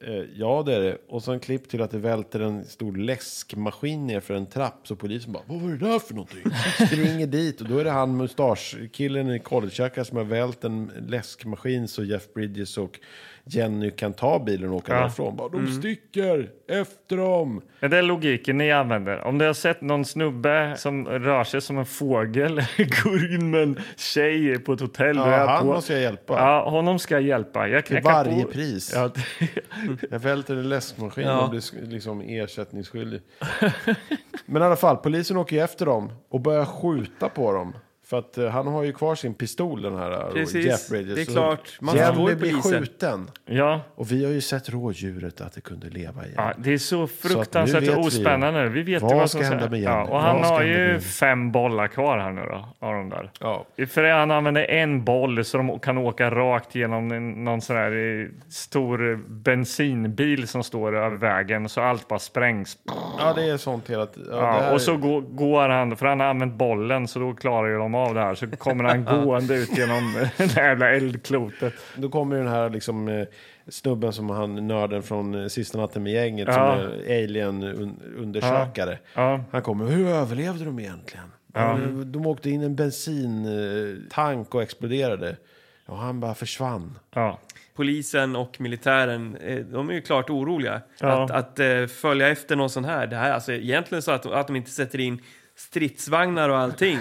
Speaker 2: Eh, ja, det är det. Och sen klipp till att det välter en stor läskmaskin ner för en trapp. Så polisen bara, vad var det där för någonting? Springer dit och då är det han mustaschkillen i collegejacka som har vält en läskmaskin så Jeff Bridges och Jenny kan ta bilen och åka därifrån. Bara, de sticker! Efter dem!
Speaker 3: Är det logiken ni använder? Om du har sett någon snubbe som rör sig som en fågel, går in med en tjej på ett hotell. och
Speaker 2: Ja,
Speaker 3: är
Speaker 2: han
Speaker 3: på-
Speaker 2: måste jag hjälpa.
Speaker 3: Ja, honom ska jag hjälpa. Jag
Speaker 2: Till
Speaker 3: knackar
Speaker 2: varje
Speaker 3: på.
Speaker 2: pris.
Speaker 3: Ja, det-
Speaker 2: Jag välter en läskmaskin
Speaker 1: Ja.
Speaker 2: och blir sk- liksom ersättningsskyldig. Men i alla fall, polisen åker ju efter dem och börjar skjuta på dem. För att eh, han har ju kvar sin pistol den här eh,
Speaker 1: Precis.
Speaker 2: Jeff Bridges.
Speaker 1: Det är
Speaker 2: Så
Speaker 1: klart. Man förstår
Speaker 2: Jenny
Speaker 1: ju
Speaker 2: blir
Speaker 1: polisen.
Speaker 2: skjuten.
Speaker 3: ja.
Speaker 2: Och vi har ju sett rådjuret att det kunde leva igen.
Speaker 3: Ja, det är så
Speaker 2: Så att
Speaker 3: fruktansvärt
Speaker 2: nu vet vi
Speaker 3: ospännande. Vi vet
Speaker 2: vad
Speaker 3: ju
Speaker 2: ska hända med Janne?
Speaker 3: ja, Och
Speaker 2: Vad
Speaker 3: han
Speaker 2: ska
Speaker 3: har
Speaker 2: hända med Janne?
Speaker 3: ju fem bollar kvar här nu då, av de där.
Speaker 2: Ja.
Speaker 3: För han använder en boll så de kan åka rakt genom en- någon sån här eh, stor bensinbil som står över vägen så allt bara sprängs.
Speaker 2: ja, det är sånt hela tiden. Ja, det
Speaker 3: Ja,
Speaker 2: här
Speaker 3: och så
Speaker 2: är-
Speaker 3: går, går han, för han har använt bollen så då klarar ju de av det här. Så kommer han gående ut genom det här jävla eldklotet.
Speaker 2: Då kommer den här liksom, eh, snubben som han, nörden från eh, sista natten med gänget, som
Speaker 3: Ja.
Speaker 2: är alien-undersökare.
Speaker 3: Ja.
Speaker 2: Han kommer, hur överlevde de egentligen? De, de åkte in i en bensintank och exploderade. Och han bara försvann.
Speaker 3: Ja.
Speaker 1: polisen och militären, eh, de är ju klart oroliga.
Speaker 3: Ja.
Speaker 1: Att, att eh, följa efter någon sån här, det här alltså egentligen så att, att de inte sätter in stridsvagnar och allting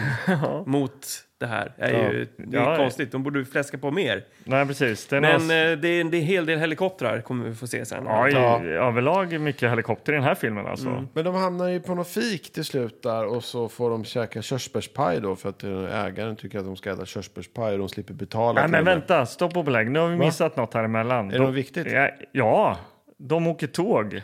Speaker 1: mot det här är
Speaker 3: Ja.
Speaker 1: ju det är
Speaker 3: Ja, ja.
Speaker 1: konstigt. De borde ju fläska på mer.
Speaker 3: Nej, precis. Det är
Speaker 1: Men
Speaker 3: någon-
Speaker 1: eh, det, är, en- det är en hel del helikoptrar kommer vi få se sen.
Speaker 3: Ja, i,
Speaker 2: Ja. Mm.
Speaker 3: överlag mycket helikopter i den här filmen alltså.
Speaker 2: Men de hamnar ju på något fik till slut där och så får de käka körsbärspaj då för att eh, ägaren tycker att de ska äta körsbärspaj och de slipper betala.
Speaker 3: Nej,
Speaker 2: till
Speaker 3: men
Speaker 2: dem.
Speaker 3: vänta, stopp och belägg. Nu har vi missat något här emellan.
Speaker 2: Är det något viktigt?
Speaker 3: Ja, ja, de åker tåg.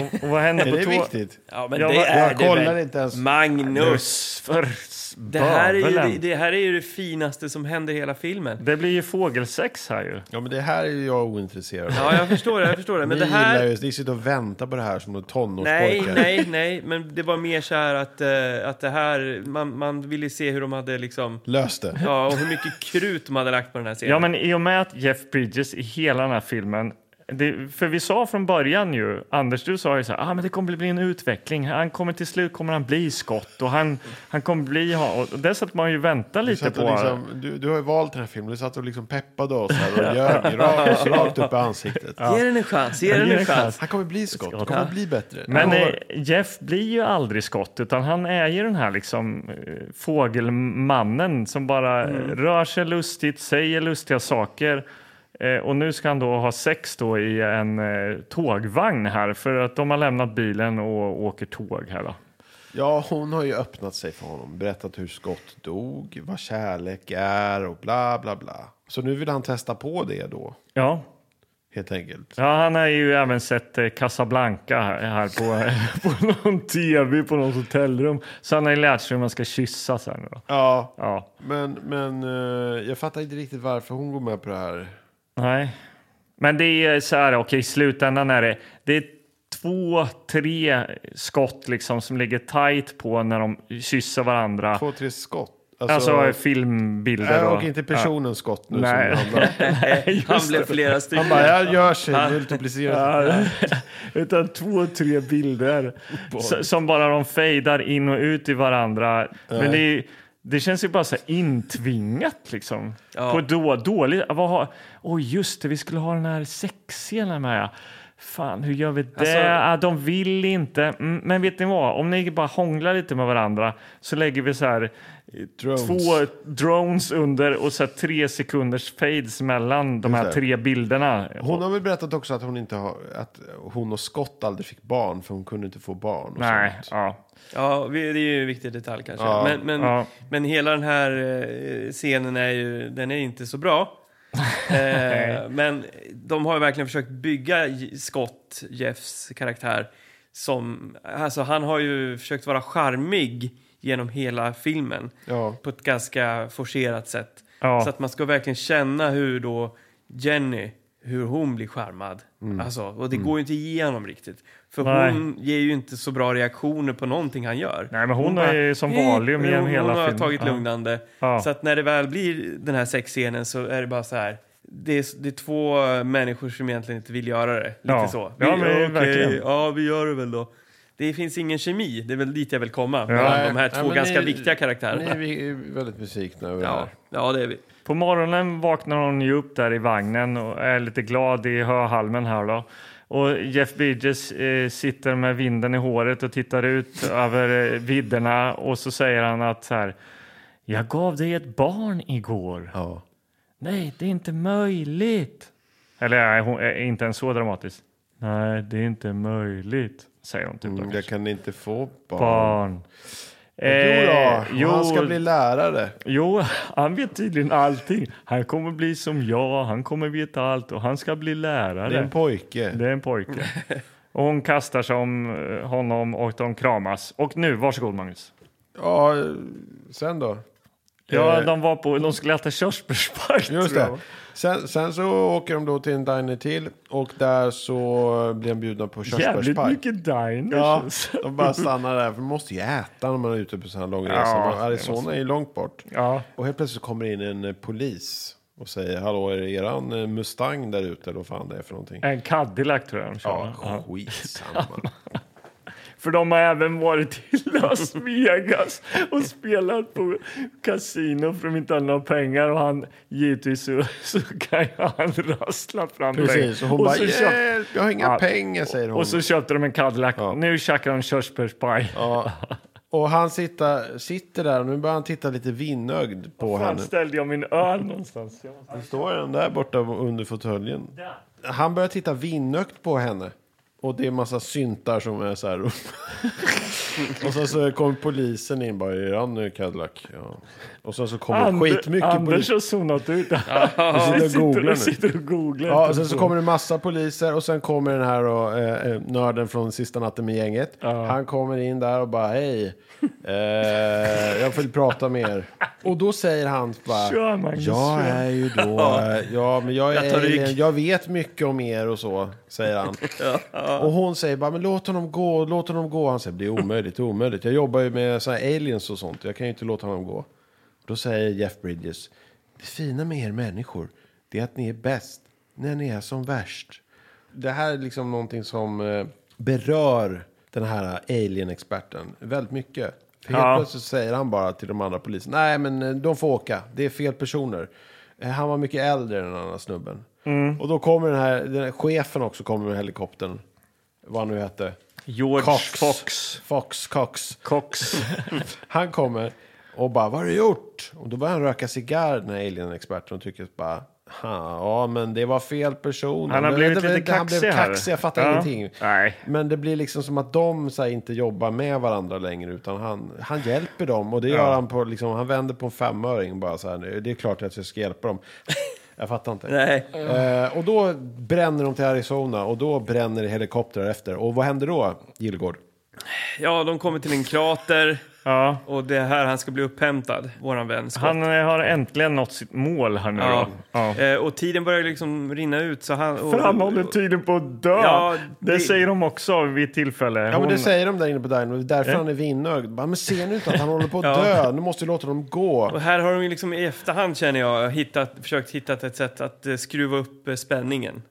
Speaker 3: Och, och vad händer
Speaker 2: Är
Speaker 3: på
Speaker 2: det
Speaker 3: tåg?
Speaker 2: viktigt?
Speaker 1: Ja, men
Speaker 3: Jag
Speaker 1: det
Speaker 3: var-
Speaker 1: är
Speaker 2: jag
Speaker 1: det
Speaker 2: kollar
Speaker 1: väl.
Speaker 2: inte ens.
Speaker 1: Magnus!
Speaker 3: Uss, för
Speaker 1: Det här, är ju,
Speaker 3: bövelen.
Speaker 1: det, det här är ju det finaste som händer i hela filmen.
Speaker 3: Det blir ju fågelsex här ju.
Speaker 2: Ja, men det här är ju jag ointresserad av.
Speaker 1: Ja, jag förstår det. Jag förstår det. Men
Speaker 2: ni,
Speaker 1: det här...
Speaker 2: gillar ju, ni sitter och väntar på det här som några
Speaker 1: Nej,
Speaker 2: tonårspojkar.
Speaker 1: nej, nej, men det var mer så här att, eh, att det här, man, man ville se hur de hade liksom,
Speaker 2: Lös det.
Speaker 1: ja, och hur mycket krut de hade lagt på den här serien.
Speaker 3: Ja, men i och med att Jeff Bridges i hela den här filmen Det, för vi sa från början ju, Anders du sa ju så här, ah, men det kommer bli en utveckling, han kommer till slut kommer han bli skott och han, han kommer bli, ha-" och det satt man ju vänta
Speaker 2: Du,
Speaker 3: lite
Speaker 2: satt
Speaker 3: på.
Speaker 2: och liksom, du, du har ju valt den här filmen, du satt och liksom peppade oss här och ljög rakt, rakt upp i ansiktet.
Speaker 1: Ge den en chans, ge
Speaker 3: Ja,
Speaker 1: den
Speaker 3: ge
Speaker 1: en
Speaker 3: den
Speaker 1: chans.
Speaker 2: Han kommer bli skott, han kommer bli bättre.
Speaker 3: Men
Speaker 2: Han
Speaker 3: eh,
Speaker 2: kommer-
Speaker 3: Jeff blir ju aldrig skott, utan han är ju den här liksom, eh, fågelmannen som bara eh, rör sig lustigt, säger lustiga saker. Eh, och nu ska han då ha sex då i en eh, tågvagn här, för att de har lämnat bilen och åker tåg här. Då.
Speaker 2: Ja, hon har ju öppnat sig för honom, berättat hur Scott dog, vad kärlek är och bla bla bla. Så nu vill han testa på det då,
Speaker 3: Ja.
Speaker 2: helt enkelt.
Speaker 3: ja, han har ju även sett eh, Casablanca här, här på, på någon tv på något hotellrum. Så han har ju lärt sig hur man ska kyssa sen. Då.
Speaker 2: Ja,
Speaker 3: Ja,
Speaker 2: men, men eh, jag fattar inte riktigt varför hon går med på det här.
Speaker 3: Nej. Men det är så här, okej, i slutändan är det, det är två, tre skott liksom som ligger tajt på när de kysser varandra.
Speaker 2: Två, tre skott.
Speaker 3: Alltså,
Speaker 2: Nej,
Speaker 3: filmbilder.
Speaker 2: och inte personen Scott nu
Speaker 3: Nej.
Speaker 2: som handlar.
Speaker 1: Eh, Han blev flera stycken.
Speaker 2: Han bara, jag gör sig multiplicerat.
Speaker 3: Utan två, tre bilder S- som bara de fejdar in och ut i varandra. Men det, är, det känns ju bara så här intvingat liksom. På då, dåligt. Vad har, oj, just det, vi skulle ha den här sexscenen med. Fan, hur gör vi det?
Speaker 1: Alltså-
Speaker 3: ah, de vill inte. Mm, men vet ni vad? Om ni bara hånglar lite med varandra så lägger vi så här eh,
Speaker 2: Drones.
Speaker 3: två drones under och så här tre sekunders fades mellan de här
Speaker 2: det.
Speaker 3: tre bilderna.
Speaker 2: Hon har väl berättat också att hon, inte har, att hon och Scott aldrig fick barn för hon kunde inte få barn. Och
Speaker 3: Nej,
Speaker 2: Sånt.
Speaker 3: ja.
Speaker 1: Ja, vi- det är ju en viktig detalj kanske.
Speaker 2: Ja.
Speaker 1: Men, men,
Speaker 3: Ja.
Speaker 1: men hela den här eh, scenen är ju den är inte så bra. eh, men de har ju verkligen försökt bygga J- Scott, Jeffs karaktär, som... Alltså han har ju försökt vara charmig genom hela filmen
Speaker 2: Ja.
Speaker 1: på ett ganska forcerat sätt.
Speaker 3: Ja.
Speaker 1: Så att man ska verkligen känna hur då Jenny, hur hon blir charmad. Alltså, och det går ju inte igenom riktigt. För
Speaker 3: Mm. Nej.
Speaker 1: hon ger ju inte så bra reaktioner på någonting han gör.
Speaker 3: Nej, men hon är ju som Valium
Speaker 1: "Eh",
Speaker 3: genom
Speaker 1: hon,
Speaker 3: hela
Speaker 1: Hon har
Speaker 3: filmen.
Speaker 1: tagit
Speaker 3: Ja.
Speaker 1: lugnande.
Speaker 3: Ja.
Speaker 1: Så att när det väl blir den här sexscenen så är det bara så här. Det är, det är två människor som egentligen inte vill göra det. Lite
Speaker 3: Ja.
Speaker 1: så.
Speaker 3: Ja, men
Speaker 1: okej,
Speaker 3: verkligen.
Speaker 1: ja, vi gör det väl då. Det finns ingen kemi, det är väl dit jag vill komma.
Speaker 2: Nej,
Speaker 1: Mellan de här två
Speaker 2: nej, men
Speaker 1: ganska
Speaker 2: ni-
Speaker 1: viktiga
Speaker 2: Ni är
Speaker 1: karaktärerna.
Speaker 2: vi- är väldigt besvikna över det
Speaker 1: Ja,
Speaker 2: här.
Speaker 1: ja, det är vi.
Speaker 3: På morgonen vaknar hon ju upp där i vagnen och är lite glad i höhalmen här då. Och Jeff Bridges eh, sitter med vinden i håret och tittar ut över eh, vidderna och så säger han att så här, jag gav dig ett barn igår.
Speaker 2: Ja.
Speaker 3: Nej, det är inte möjligt. Eller nej, hon är inte ens så dramatisk. Nej, det är inte möjligt, säger hon typ. då.
Speaker 2: Mm, Jag kan inte få barn.
Speaker 3: Barn.
Speaker 2: Jo,
Speaker 3: Eh,
Speaker 2: då, han ska bli lärare.
Speaker 3: Jo, han vet tydligen allting. Han kommer bli som jag, han kommer veta allt och han ska bli lärare.
Speaker 2: Det är en pojke.
Speaker 3: Det är en pojke. Och hon kastar sig om eh, honom och de kramas. Och nu, varsågod Magnus.
Speaker 2: Ja, sen då?
Speaker 3: Ja,
Speaker 2: Eh.
Speaker 3: de var på, de skulle äta körsbärspaj.
Speaker 2: Just
Speaker 3: tror jag.
Speaker 2: det. Sen, sen så åker de då till en diner till och där så blir de bjudna på
Speaker 3: Jävligt
Speaker 2: körsbärspaj.
Speaker 3: mycket diners.
Speaker 2: Ja,
Speaker 3: alltså.
Speaker 2: de bara stannar där, för man måste ju äta när man är ute på sådana här långa
Speaker 3: Ja,
Speaker 2: resor.
Speaker 3: det
Speaker 2: Men Arizona är ju långt bort.
Speaker 3: ja.
Speaker 2: Och helt plötsligt kommer det in en eh, polis och säger, hallå, är det eran eh, Mustang där ute? Eller vad fan det är för någonting.
Speaker 3: En Cadillac tror jag de körde.
Speaker 2: Ja, skitsamma.
Speaker 3: För de har även varit till Las Vegas och spelat på kasino för de inte har några pengar och han givetvis så, så kan ju han rassla fram
Speaker 2: Precis, och hon bara,
Speaker 3: så köpt-
Speaker 2: hjälp, jag har inga
Speaker 3: Ja.
Speaker 2: pengar, säger hon.
Speaker 3: och så köpte de en Cadillac.
Speaker 2: Ja.
Speaker 3: Nu käkar de körsbärspaj.
Speaker 2: Ja. Och han sitter, sitter där och nu börjar han titta lite vinnögd på
Speaker 3: Fan
Speaker 2: henne.
Speaker 3: ställde jag min öl någonstans? Jag måste-
Speaker 2: Han står den där borta under fåtöljen. Han börjar titta vinnögd på henne. Och det är en massa syntar som är så här. och sen så kommer polisen in bara, är han nu Cadillac? Ja. Och sen så kommer det
Speaker 3: Ander-
Speaker 2: skitmycket
Speaker 3: Anders
Speaker 2: polis.
Speaker 3: har zonat ut.
Speaker 2: och googlar
Speaker 3: Han sitter
Speaker 2: nu.
Speaker 3: och, sitter och googlar.
Speaker 2: Ja, och sen så kommer det massa poliser och sen kommer den här då, eh, eh, nörden från sista natten med gänget. Han kommer in där och bara hej, eh, jag vill prata med er. Och då säger han bara,
Speaker 3: Kör, Magnus,
Speaker 2: jag
Speaker 3: kör."
Speaker 2: är ju då, eh, ja men jag är
Speaker 1: Jag tar rygg.
Speaker 2: alien, jag vet mycket om er och så, säger han. Och hon säger bara, men låt honom gå, låt honom gå. Han säger, det är omöjligt, det är omöjligt. Jag jobbar ju med så här aliens och sånt, jag kan ju inte låta honom gå. Då säger Jeff Bridges, det fina med er människor, det är att ni är bäst när ni är som värst. det här är liksom någonting som eh, berör den här alien-experten väldigt mycket. För helt
Speaker 3: Ja.
Speaker 2: plötsligt säger han bara till de andra poliserna, nej men eh, de får åka, det är fel personer. Eh, Han var mycket äldre än den andra snubben.
Speaker 3: Mm.
Speaker 2: Och då kommer den här, den här chefen också kommer med helikoptern, vad han nu hette.
Speaker 3: George
Speaker 2: Cox.
Speaker 3: Fox.
Speaker 2: Fox, Cox.
Speaker 3: Cox.
Speaker 2: Han kommer och bara, vad har du gjort? Och då börjar han röka cigarr, den här alien-experten, och tycker bara, "Ha, ja men det var fel person.
Speaker 3: Han har
Speaker 2: Men
Speaker 3: blivit
Speaker 2: det- det-
Speaker 3: lite
Speaker 2: Han
Speaker 3: kaxig
Speaker 2: blev
Speaker 3: här.
Speaker 2: kaxig, jag fattar
Speaker 3: Ja.
Speaker 2: ingenting.
Speaker 3: Nej.
Speaker 2: Men det blir liksom som att de så här, inte jobbar med varandra längre, utan han, han hjälper dem. Och det gör han på, liksom, han vänder på en femöring och bara så här, det är klart att jag ska hjälpa dem. Jag fattar inte.
Speaker 1: Nej.
Speaker 2: Eh, och då bränner de till Arizona och då bränner det helikoptrar efter. Och vad händer då, Gillgård?
Speaker 1: Ja, de kommer till en krater
Speaker 3: Ja.
Speaker 1: och det är här han ska bli upphämtad, våran vän Scott.
Speaker 3: Han eh, har äntligen nått sitt mål här nu
Speaker 1: Ja.
Speaker 3: då. Ja.
Speaker 1: Eh, och tiden börjar liksom rinna ut så han... Och,
Speaker 3: För han håller tydligen på att dö.
Speaker 1: Ja,
Speaker 3: det...
Speaker 1: det-
Speaker 3: säger de också vid ett tillfälle.
Speaker 2: Ja, men det
Speaker 3: Hon-
Speaker 2: säger de där inne på dino. Det är därför han är vinögd. Bara, men ser ni inte att han håller på att dö? Nu måste vi låta dem gå.
Speaker 1: och här har de ju liksom i efterhand känner jag hittat, försökt hitta ett sätt att eh, skruva upp eh, spänningen.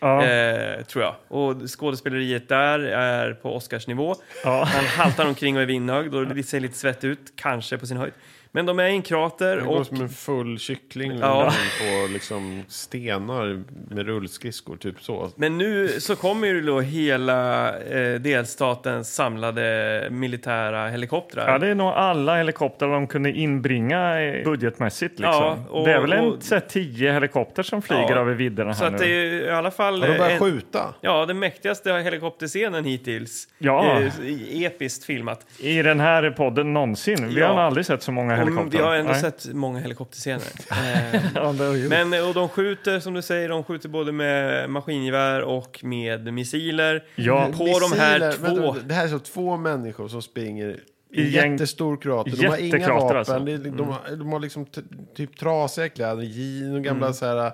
Speaker 3: ja.
Speaker 1: Eh, tror jag. Och skådespeleriet där är på Oscarsnivå.
Speaker 3: Ja.
Speaker 1: Han haltar omkring och är vinnögd och det ser lite svett ut, kanske på sin höjd. Men de är i en krater
Speaker 2: Han går
Speaker 1: och
Speaker 2: som en full kyckling
Speaker 1: Ja.
Speaker 2: på liksom stenar med rullskridskor, typ så.
Speaker 1: Men nu så kommer ju då hela eh, delstatens samlade militära helikoptrar.
Speaker 3: Ja, det är nog alla helikoptrar de kunde inbringa eh, budgetmässigt. Liksom.
Speaker 1: Ja, och-
Speaker 3: det är väl en
Speaker 1: och-
Speaker 3: så här, tio helikopter som flyger
Speaker 1: Ja.
Speaker 3: över vidderna
Speaker 1: så
Speaker 3: här
Speaker 1: att det
Speaker 3: nu.
Speaker 1: är ju i alla fall...
Speaker 2: Ja, de börjar
Speaker 1: en-
Speaker 2: skjuta.
Speaker 1: Ja, den mäktigaste helikopterscenen hittills.
Speaker 3: Ja.
Speaker 1: Eh, i- episkt filmat.
Speaker 3: I den här podden någonsin. Vi
Speaker 1: Ja.
Speaker 3: har nog aldrig sett så många helikoptrar.
Speaker 1: Och vi har ändå
Speaker 3: Nej.
Speaker 1: sett många helikopterscener. Eh,
Speaker 3: Ja, det har vi gjort.
Speaker 1: men och de skjuter, som du säger, de skjuter både med maskingevär och med missiler.
Speaker 3: Ja.
Speaker 1: På de här
Speaker 2: Missiler,
Speaker 1: två...
Speaker 2: vänta, det här är så två människor som springer i
Speaker 3: I gäng-
Speaker 2: jättestor krater. De har inga
Speaker 3: Jättekrater,
Speaker 2: vapen.
Speaker 3: alltså.
Speaker 2: Det är- De,
Speaker 1: Mm.
Speaker 2: har, de har liksom t- typ trasiga kläder, jeans och gamla så här äh,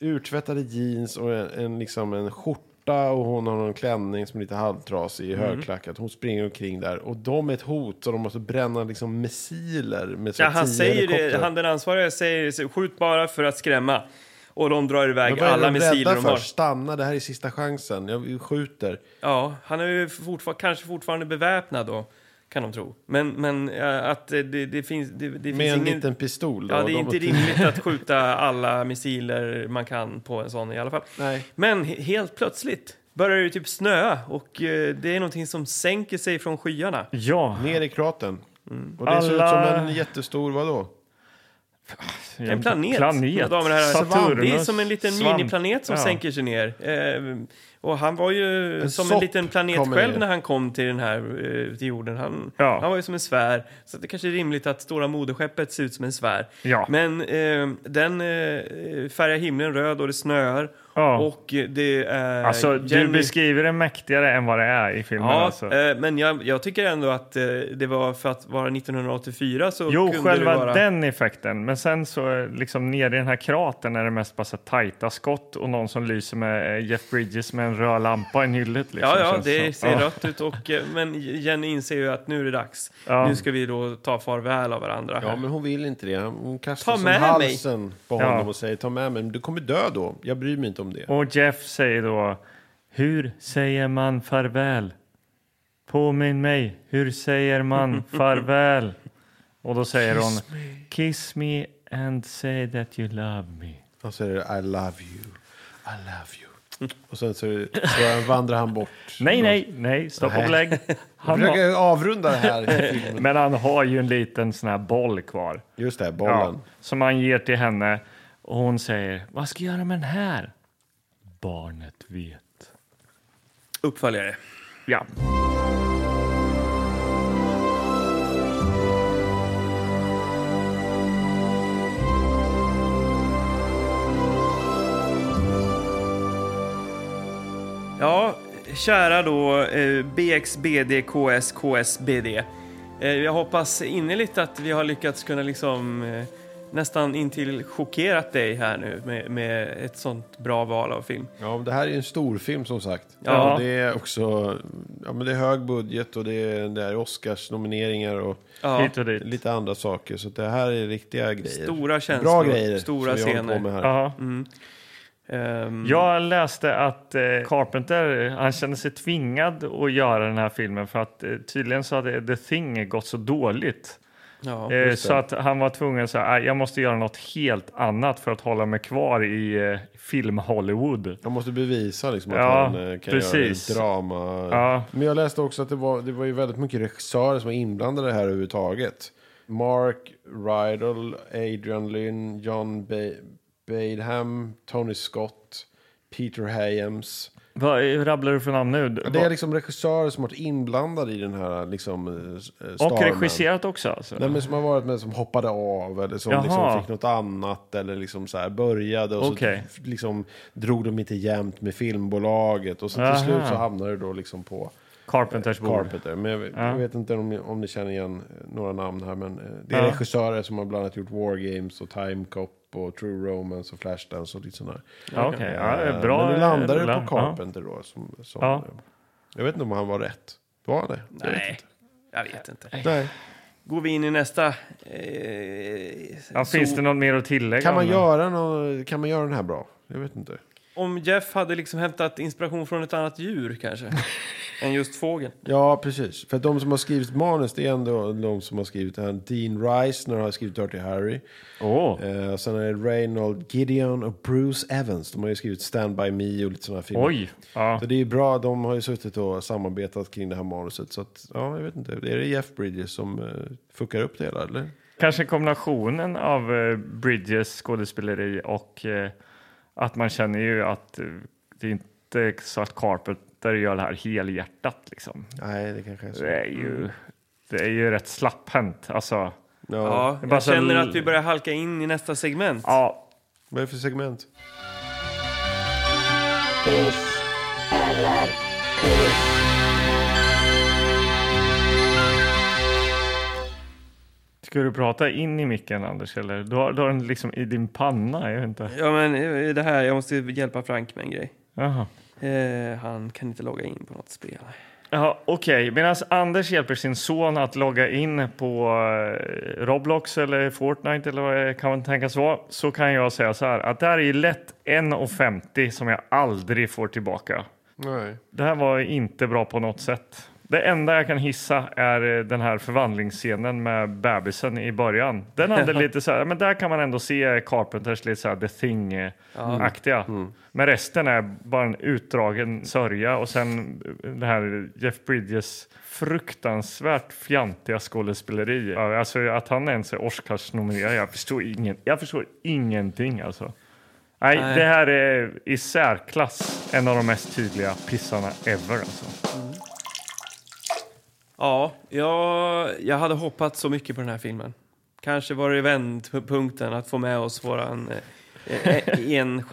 Speaker 2: urtvättade jeans och en, en, liksom en skjorta och hon har någon klänning som är lite halvtrasig i
Speaker 1: Mm.
Speaker 2: högklackat. Hon springer omkring där och de är ett hot så de måste bränna liksom missiler med så
Speaker 1: Ja,
Speaker 2: här
Speaker 1: han
Speaker 2: tio
Speaker 1: säger det,
Speaker 2: helikoptrar.
Speaker 1: han den ansvariga säger så skjut bara för att skrämma. Och de drar
Speaker 2: Men
Speaker 1: iväg
Speaker 2: vad är
Speaker 1: alla
Speaker 2: de
Speaker 1: missiler
Speaker 2: rädda
Speaker 1: de
Speaker 2: för?
Speaker 1: har.
Speaker 2: Stanna, det här är sista chansen. Jag skjuter.
Speaker 1: Ja, han är ju fortfar- kanske fortfarande beväpnad då, kan de tro. Men, men eh, att det, det, det finns, det, det
Speaker 2: Med
Speaker 1: finns
Speaker 2: en
Speaker 1: ingen...
Speaker 2: liten pistol. Då.
Speaker 1: Ja, det är
Speaker 2: De-
Speaker 1: inte rimligt att skjuta alla missiler man kan på en sån i alla fall.
Speaker 2: Nej.
Speaker 1: Men he- helt plötsligt börjar det ju typ snöa och eh, det är någonting som sänker sig från skyarna.
Speaker 3: Ja,
Speaker 2: Ner i kraten. Och det ser ut
Speaker 3: Alla-
Speaker 2: som en jättestor, vadå?
Speaker 1: En planet. mina
Speaker 3: planet.
Speaker 1: Damer och herrar.
Speaker 3: Saturnus.
Speaker 1: Det är som en liten
Speaker 3: Svamp.
Speaker 1: miniplanet som
Speaker 3: Ja.
Speaker 1: sänker sig ner. Eh, och han var ju
Speaker 2: En
Speaker 1: som en
Speaker 2: sopp
Speaker 1: liten planet
Speaker 2: kommer
Speaker 1: själv
Speaker 2: ner.
Speaker 1: när han kom till den här eh, till jorden. Han,
Speaker 3: Ja.
Speaker 1: han var ju som en sfär. Så att det kanske är rimligt att stora moderskeppet ser ut som en sfär.
Speaker 3: Ja.
Speaker 1: Men eh, den eh, färgar himlen röd och det snöar.
Speaker 3: Ja.
Speaker 1: Och eh, det är...
Speaker 3: Alltså, du
Speaker 1: Jenny-
Speaker 3: beskriver det mäktigare än vad det är i filmen.
Speaker 1: Ja,
Speaker 3: alltså.
Speaker 1: eh, men jag, jag tycker ändå att eh, det var för att vara 1984 så
Speaker 3: Jo,
Speaker 1: kunde
Speaker 3: själva
Speaker 1: det vara...
Speaker 3: den effekten. Men sen så eh, liksom nere i den här kratern är det mest bara så här tajta skott och någon som lyser med eh, Jeff Bridges med en röd lampa i hyllet. Liksom,
Speaker 1: Ja, ja,
Speaker 3: känns
Speaker 1: det
Speaker 3: som.
Speaker 1: ser
Speaker 3: Ja.
Speaker 1: rött ut. Och, eh, men Jenny inser ju att nu är det dags.
Speaker 3: Ja.
Speaker 1: Nu ska vi då ta farväl av varandra.
Speaker 2: Ja,
Speaker 1: här.
Speaker 2: men hon vill inte det. Hon kastar
Speaker 1: Ta
Speaker 2: som
Speaker 1: med mig.
Speaker 2: halsen på
Speaker 3: Ja.
Speaker 2: honom och säger ta med mig. Men Du kommer dö då. Jag bryr mig inte om det.
Speaker 3: Och Jeff säger då, hur säger man farväl? Påminn mig, hur säger man farväl? Och då säger hon, kiss me and say that you love me.
Speaker 2: Och så är det I love you, I love you. Och sen så, så vandrar han bort.
Speaker 3: Nej, nej, nej, stopp och
Speaker 2: Nej.
Speaker 3: belägg.
Speaker 2: Han
Speaker 3: Han har,
Speaker 2: försöker avrunda det här. i filmen.
Speaker 3: men han har ju en liten sån här boll kvar.
Speaker 2: Just det,
Speaker 3: Ja,
Speaker 2: bollen.
Speaker 3: som han ger till henne. Och hon säger, vad ska jag göra med den här? Barnet vet.
Speaker 1: Uppföljare.
Speaker 3: Ja.
Speaker 1: Ja, kära då eh, BXBD, KS, KSBD. Eh, jag hoppas innerligt att vi har lyckats kunna liksom eh, nästan intill chockerat dig här nu med, med ett sånt bra val av film.
Speaker 2: Ja. men det här är ju en stor film som sagt.
Speaker 1: Ja.
Speaker 2: Och Det är också ja, men det är hög budget och det är, det är Oscars-nomineringar och
Speaker 1: Ja,
Speaker 3: Hit och dit.
Speaker 2: lite andra saker. Så det här är riktiga grejer.
Speaker 1: stora känslor,
Speaker 2: Bra grejer
Speaker 1: stora
Speaker 2: som vi håller på
Speaker 1: scener.
Speaker 2: med här.
Speaker 3: Ja.
Speaker 1: Ehm,
Speaker 3: Jag läste att eh, Carpenter eh, han kände sig tvingad att göra den här filmen för att eh, tydligen så hade The Thing gått så dåligt.
Speaker 1: ja.
Speaker 3: eh, så att han var tvungen att säga "Nej, jag måste göra något helt annat för att hålla mig kvar i eh, film-Hollywood.
Speaker 2: Han måste bevisa liksom att
Speaker 3: Ja,
Speaker 2: han eh, kan
Speaker 3: precis.
Speaker 2: göra drama.
Speaker 3: Ja.
Speaker 2: Men jag läste också att det var, det var ju väldigt mycket regissörer som var inblandade här överhuvudtaget. Mark Rydell, Adrian Lynn, John ba Badham, Tony Scott, Peter Hayams.
Speaker 3: Vad eh, rabblar du för namn nu?
Speaker 2: Det är liksom regissörer som varit inblandade i den här liksom, eh, s- eh,
Speaker 3: och
Speaker 2: Starman.
Speaker 3: regisserat också? Alltså.
Speaker 2: Nej, men som har varit med som hoppade av eller som
Speaker 3: Jaha.
Speaker 2: liksom fick något annat eller liksom så här började och
Speaker 3: Okej.
Speaker 2: så f- liksom drog de inte jämnt med filmbolaget och så
Speaker 3: Aha.
Speaker 2: till slut så hamnade det då liksom på
Speaker 3: Carpenters bord.
Speaker 2: Carpenter. Men jag, jag vet inte om ni, om ni känner igen eh, några namn här men eh, det är
Speaker 3: Ja.
Speaker 2: regissörer som har bland annat gjort War Games och Time Cop och True Romance och Flashdance och lite sådär.
Speaker 3: Ja, okay. ja, det är bra. eh,
Speaker 2: men nu landade
Speaker 3: rulla.
Speaker 2: det på Carpenter då. Som, som, eh,
Speaker 3: Ja.
Speaker 2: Jag vet inte om han var rätt. Var han det? Jag vet
Speaker 1: Nej,
Speaker 2: inte.
Speaker 1: jag vet inte.
Speaker 2: Nej.
Speaker 1: Går vi in i nästa... Eh,
Speaker 3: Ja,
Speaker 1: så-
Speaker 3: finns det något mer att tillägga?
Speaker 2: Kan man,
Speaker 3: om-
Speaker 2: göra någon, kan man göra den här bra? Jag vet inte.
Speaker 1: Om Jeff hade liksom hämtat inspiration från ett annat djur kanske, än just fågeln.
Speaker 2: Ja, precis. För att de som har skrivit manus, det är ändå de som har skrivit det här. Dean Reisner har skrivit Dirty Harry.
Speaker 3: Åh.
Speaker 2: Eh, sen är det Reynold Gideon och Bruce Evans. De har ju skrivit Stand By Me och lite sådana här filmer.
Speaker 3: Oj. Ja.
Speaker 2: Så det är ju bra, de har ju suttit och samarbetat kring det här manuset. Så att, ja, jag vet inte. Är det Jeff Bridges som eh, fuckar upp det hela, eller?
Speaker 3: Kanske kombinationen av eh, Bridges skådespeleri och eh, att man känner ju att eh, det är inte så att Carpenter gör det här helhjärtat. Liksom.
Speaker 2: Nej, det kanske är så.
Speaker 3: Det, är ju, det är ju rätt slapphänt. Alltså,
Speaker 2: Ja.
Speaker 1: Ja,
Speaker 3: bara
Speaker 1: jag
Speaker 3: så-
Speaker 1: känner att vi börjar halka in i nästa segment.
Speaker 3: ja,
Speaker 2: Vad är det för segment?
Speaker 3: ska du prata in i micken, Anders? Eller? Du, har, du har den liksom i din panna. Jag vet inte.
Speaker 1: Ja, men eh, det här, jag måste hjälpa Frank med en grej.
Speaker 3: Jaha.
Speaker 1: Eh, han kan inte logga in på något spel.
Speaker 3: Ja, Okej, medan Anders hjälper sin son att logga in på eh, Roblox eller Fortnite eller vad det kan tänkas vara så kan jag säga så här att det här är ju lätt 1,50 som jag aldrig får tillbaka.
Speaker 2: Nej.
Speaker 3: Det här var inte bra på något sätt. Det enda jag kan hissa är eh, den här förvandlingsscenen med bebisen i början. Den hade lite så här, men där kan man ändå se Carpenters lite så här The Thing-aktiga. Men resten är bara en utdragen sörja och sen eh, det här Jeff Bridges fruktansvärt fjantiga skådespeleri. Ja, Alltså att han ens är Oscarsnominerad, jag förstår, ingen, jag förstår ingenting alltså. Nej,
Speaker 1: Nej.
Speaker 3: det här är i särklass en av de mest tydliga pissarna ever. Alltså.
Speaker 1: Ja, jag, jag hade hoppats så mycket på den här filmen. Kanske var det vändpunkten att få med oss våran eh, eh,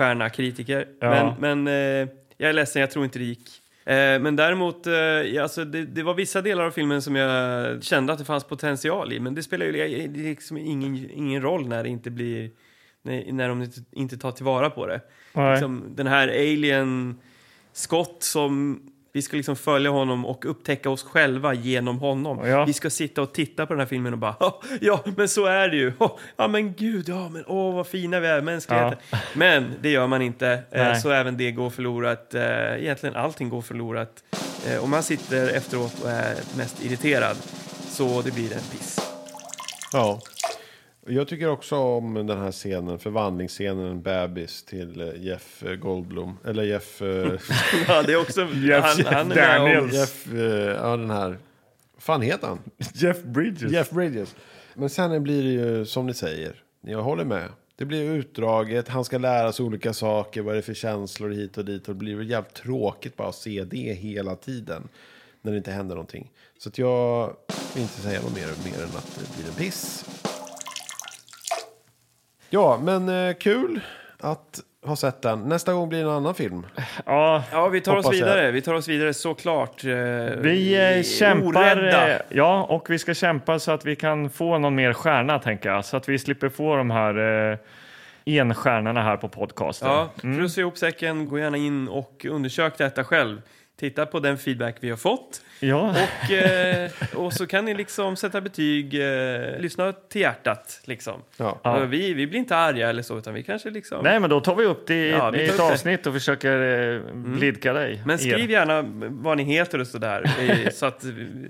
Speaker 1: enstjärna-kritiker.
Speaker 3: Ja.
Speaker 1: Men, men eh, jag är ledsen, jag tror inte det gick. Eh, men däremot, eh, ja, alltså, det, det var vissa delar av filmen som jag kände att det fanns potential i. Men det spelar ju li- det är liksom ingen, ingen roll när det inte blir... När, när de inte, inte tar tillvara på det.
Speaker 3: Nej.
Speaker 1: Liksom, den här alien skott som vi ska liksom följa honom och upptäcka oss själva genom honom.
Speaker 3: Ja.
Speaker 1: Vi ska sitta och titta på den här filmen och bara "Ja, ja, men så är det ju. Ja, Ja, men gud, ja, men åh, vad fina vi är, mänskligheten. Men det gör man inte. Eh,
Speaker 3: Nej.
Speaker 1: Så även det går förlorat. Eh, Egentligen allting går förlorat. Eh, Om man sitter efteråt och är mest irriterad. Så det blir en piss.
Speaker 2: Ja. Jag tycker också om den här scenen, förvandlingsscenen, bebis till eh, Jeff eh, Goldblum. Eller Jeff... eh,
Speaker 1: Ja, det är också...
Speaker 3: Jeff
Speaker 1: han, han är med om,
Speaker 3: Daniels.
Speaker 2: Jeff, eh, ja den här. fan heter han?
Speaker 3: Jeff Bridges.
Speaker 2: Jeff Bridges. Men sen blir det ju som ni säger, jag håller med. Det blir utdraget, han ska lära sig olika saker, vad är det för känslor hit och dit. Och det blir väl jävligt tråkigt bara att se det hela tiden. När det inte händer någonting. Så att jag vill inte säga något mer, mer än att det blir en piss. Ja, men eh, kul att ha sett den. Nästa gång blir det en annan film.
Speaker 3: Ja,
Speaker 1: Ja, vi tar oss
Speaker 2: Hoppas jag.
Speaker 1: vidare. Vi tar oss vidare såklart. Eh,
Speaker 3: vi eh, kämpar.
Speaker 1: Orädda.
Speaker 3: Eh, ja, och vi ska kämpa så att vi kan få någon mer stjärna, tänker jag. Så att vi slipper få de här eh, enstjärnorna här på podcasten. Mm.
Speaker 1: Ja, för att se ihop säcken, gå gärna in och undersök detta själv. titta på den feedback vi har fått.
Speaker 3: Ja.
Speaker 1: Och, eh, och så kan ni liksom sätta betyg, eh, lyssna till hjärtat. Liksom.
Speaker 9: Ja.
Speaker 3: Ja.
Speaker 1: Och Vi, vi blir inte arga eller så, utan vi kanske liksom...
Speaker 3: Nej, men då tar vi upp det i,
Speaker 1: Ja, vi
Speaker 3: i
Speaker 1: tar
Speaker 3: ett
Speaker 1: upp det. Mm.
Speaker 3: avsnitt och försöker eh, blidka dig.
Speaker 1: Men skriv
Speaker 3: er.
Speaker 1: gärna vad ni heter och sådär, eh, så att,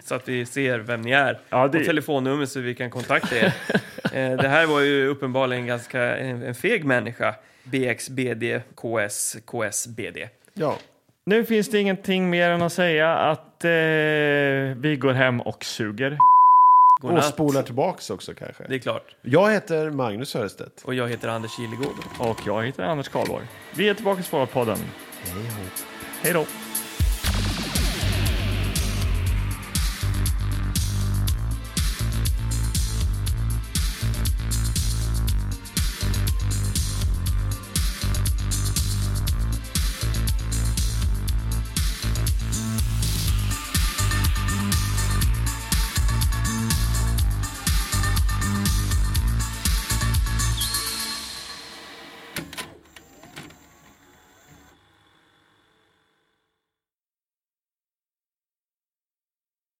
Speaker 1: så att vi ser vem ni är.
Speaker 3: Ja, det-
Speaker 1: Och telefonnummer så vi kan kontakta er. Eh, det här var ju uppenbarligen ganska en, en feg människa. BXBD, KS, KSBD.
Speaker 9: Ja.
Speaker 3: Nu finns det ingenting mer än att säga att eh, vi går hem och suger.
Speaker 9: Och
Speaker 1: Godnatt.
Speaker 9: spolar tillbaks också kanske.
Speaker 1: Det är klart.
Speaker 9: Jag heter Magnus Hörstedt.
Speaker 1: Och jag heter Anders Kilegård.
Speaker 3: Och jag heter Anders Karlborg. Vi är tillbaka i Svararpodden. Hej då. Hej då.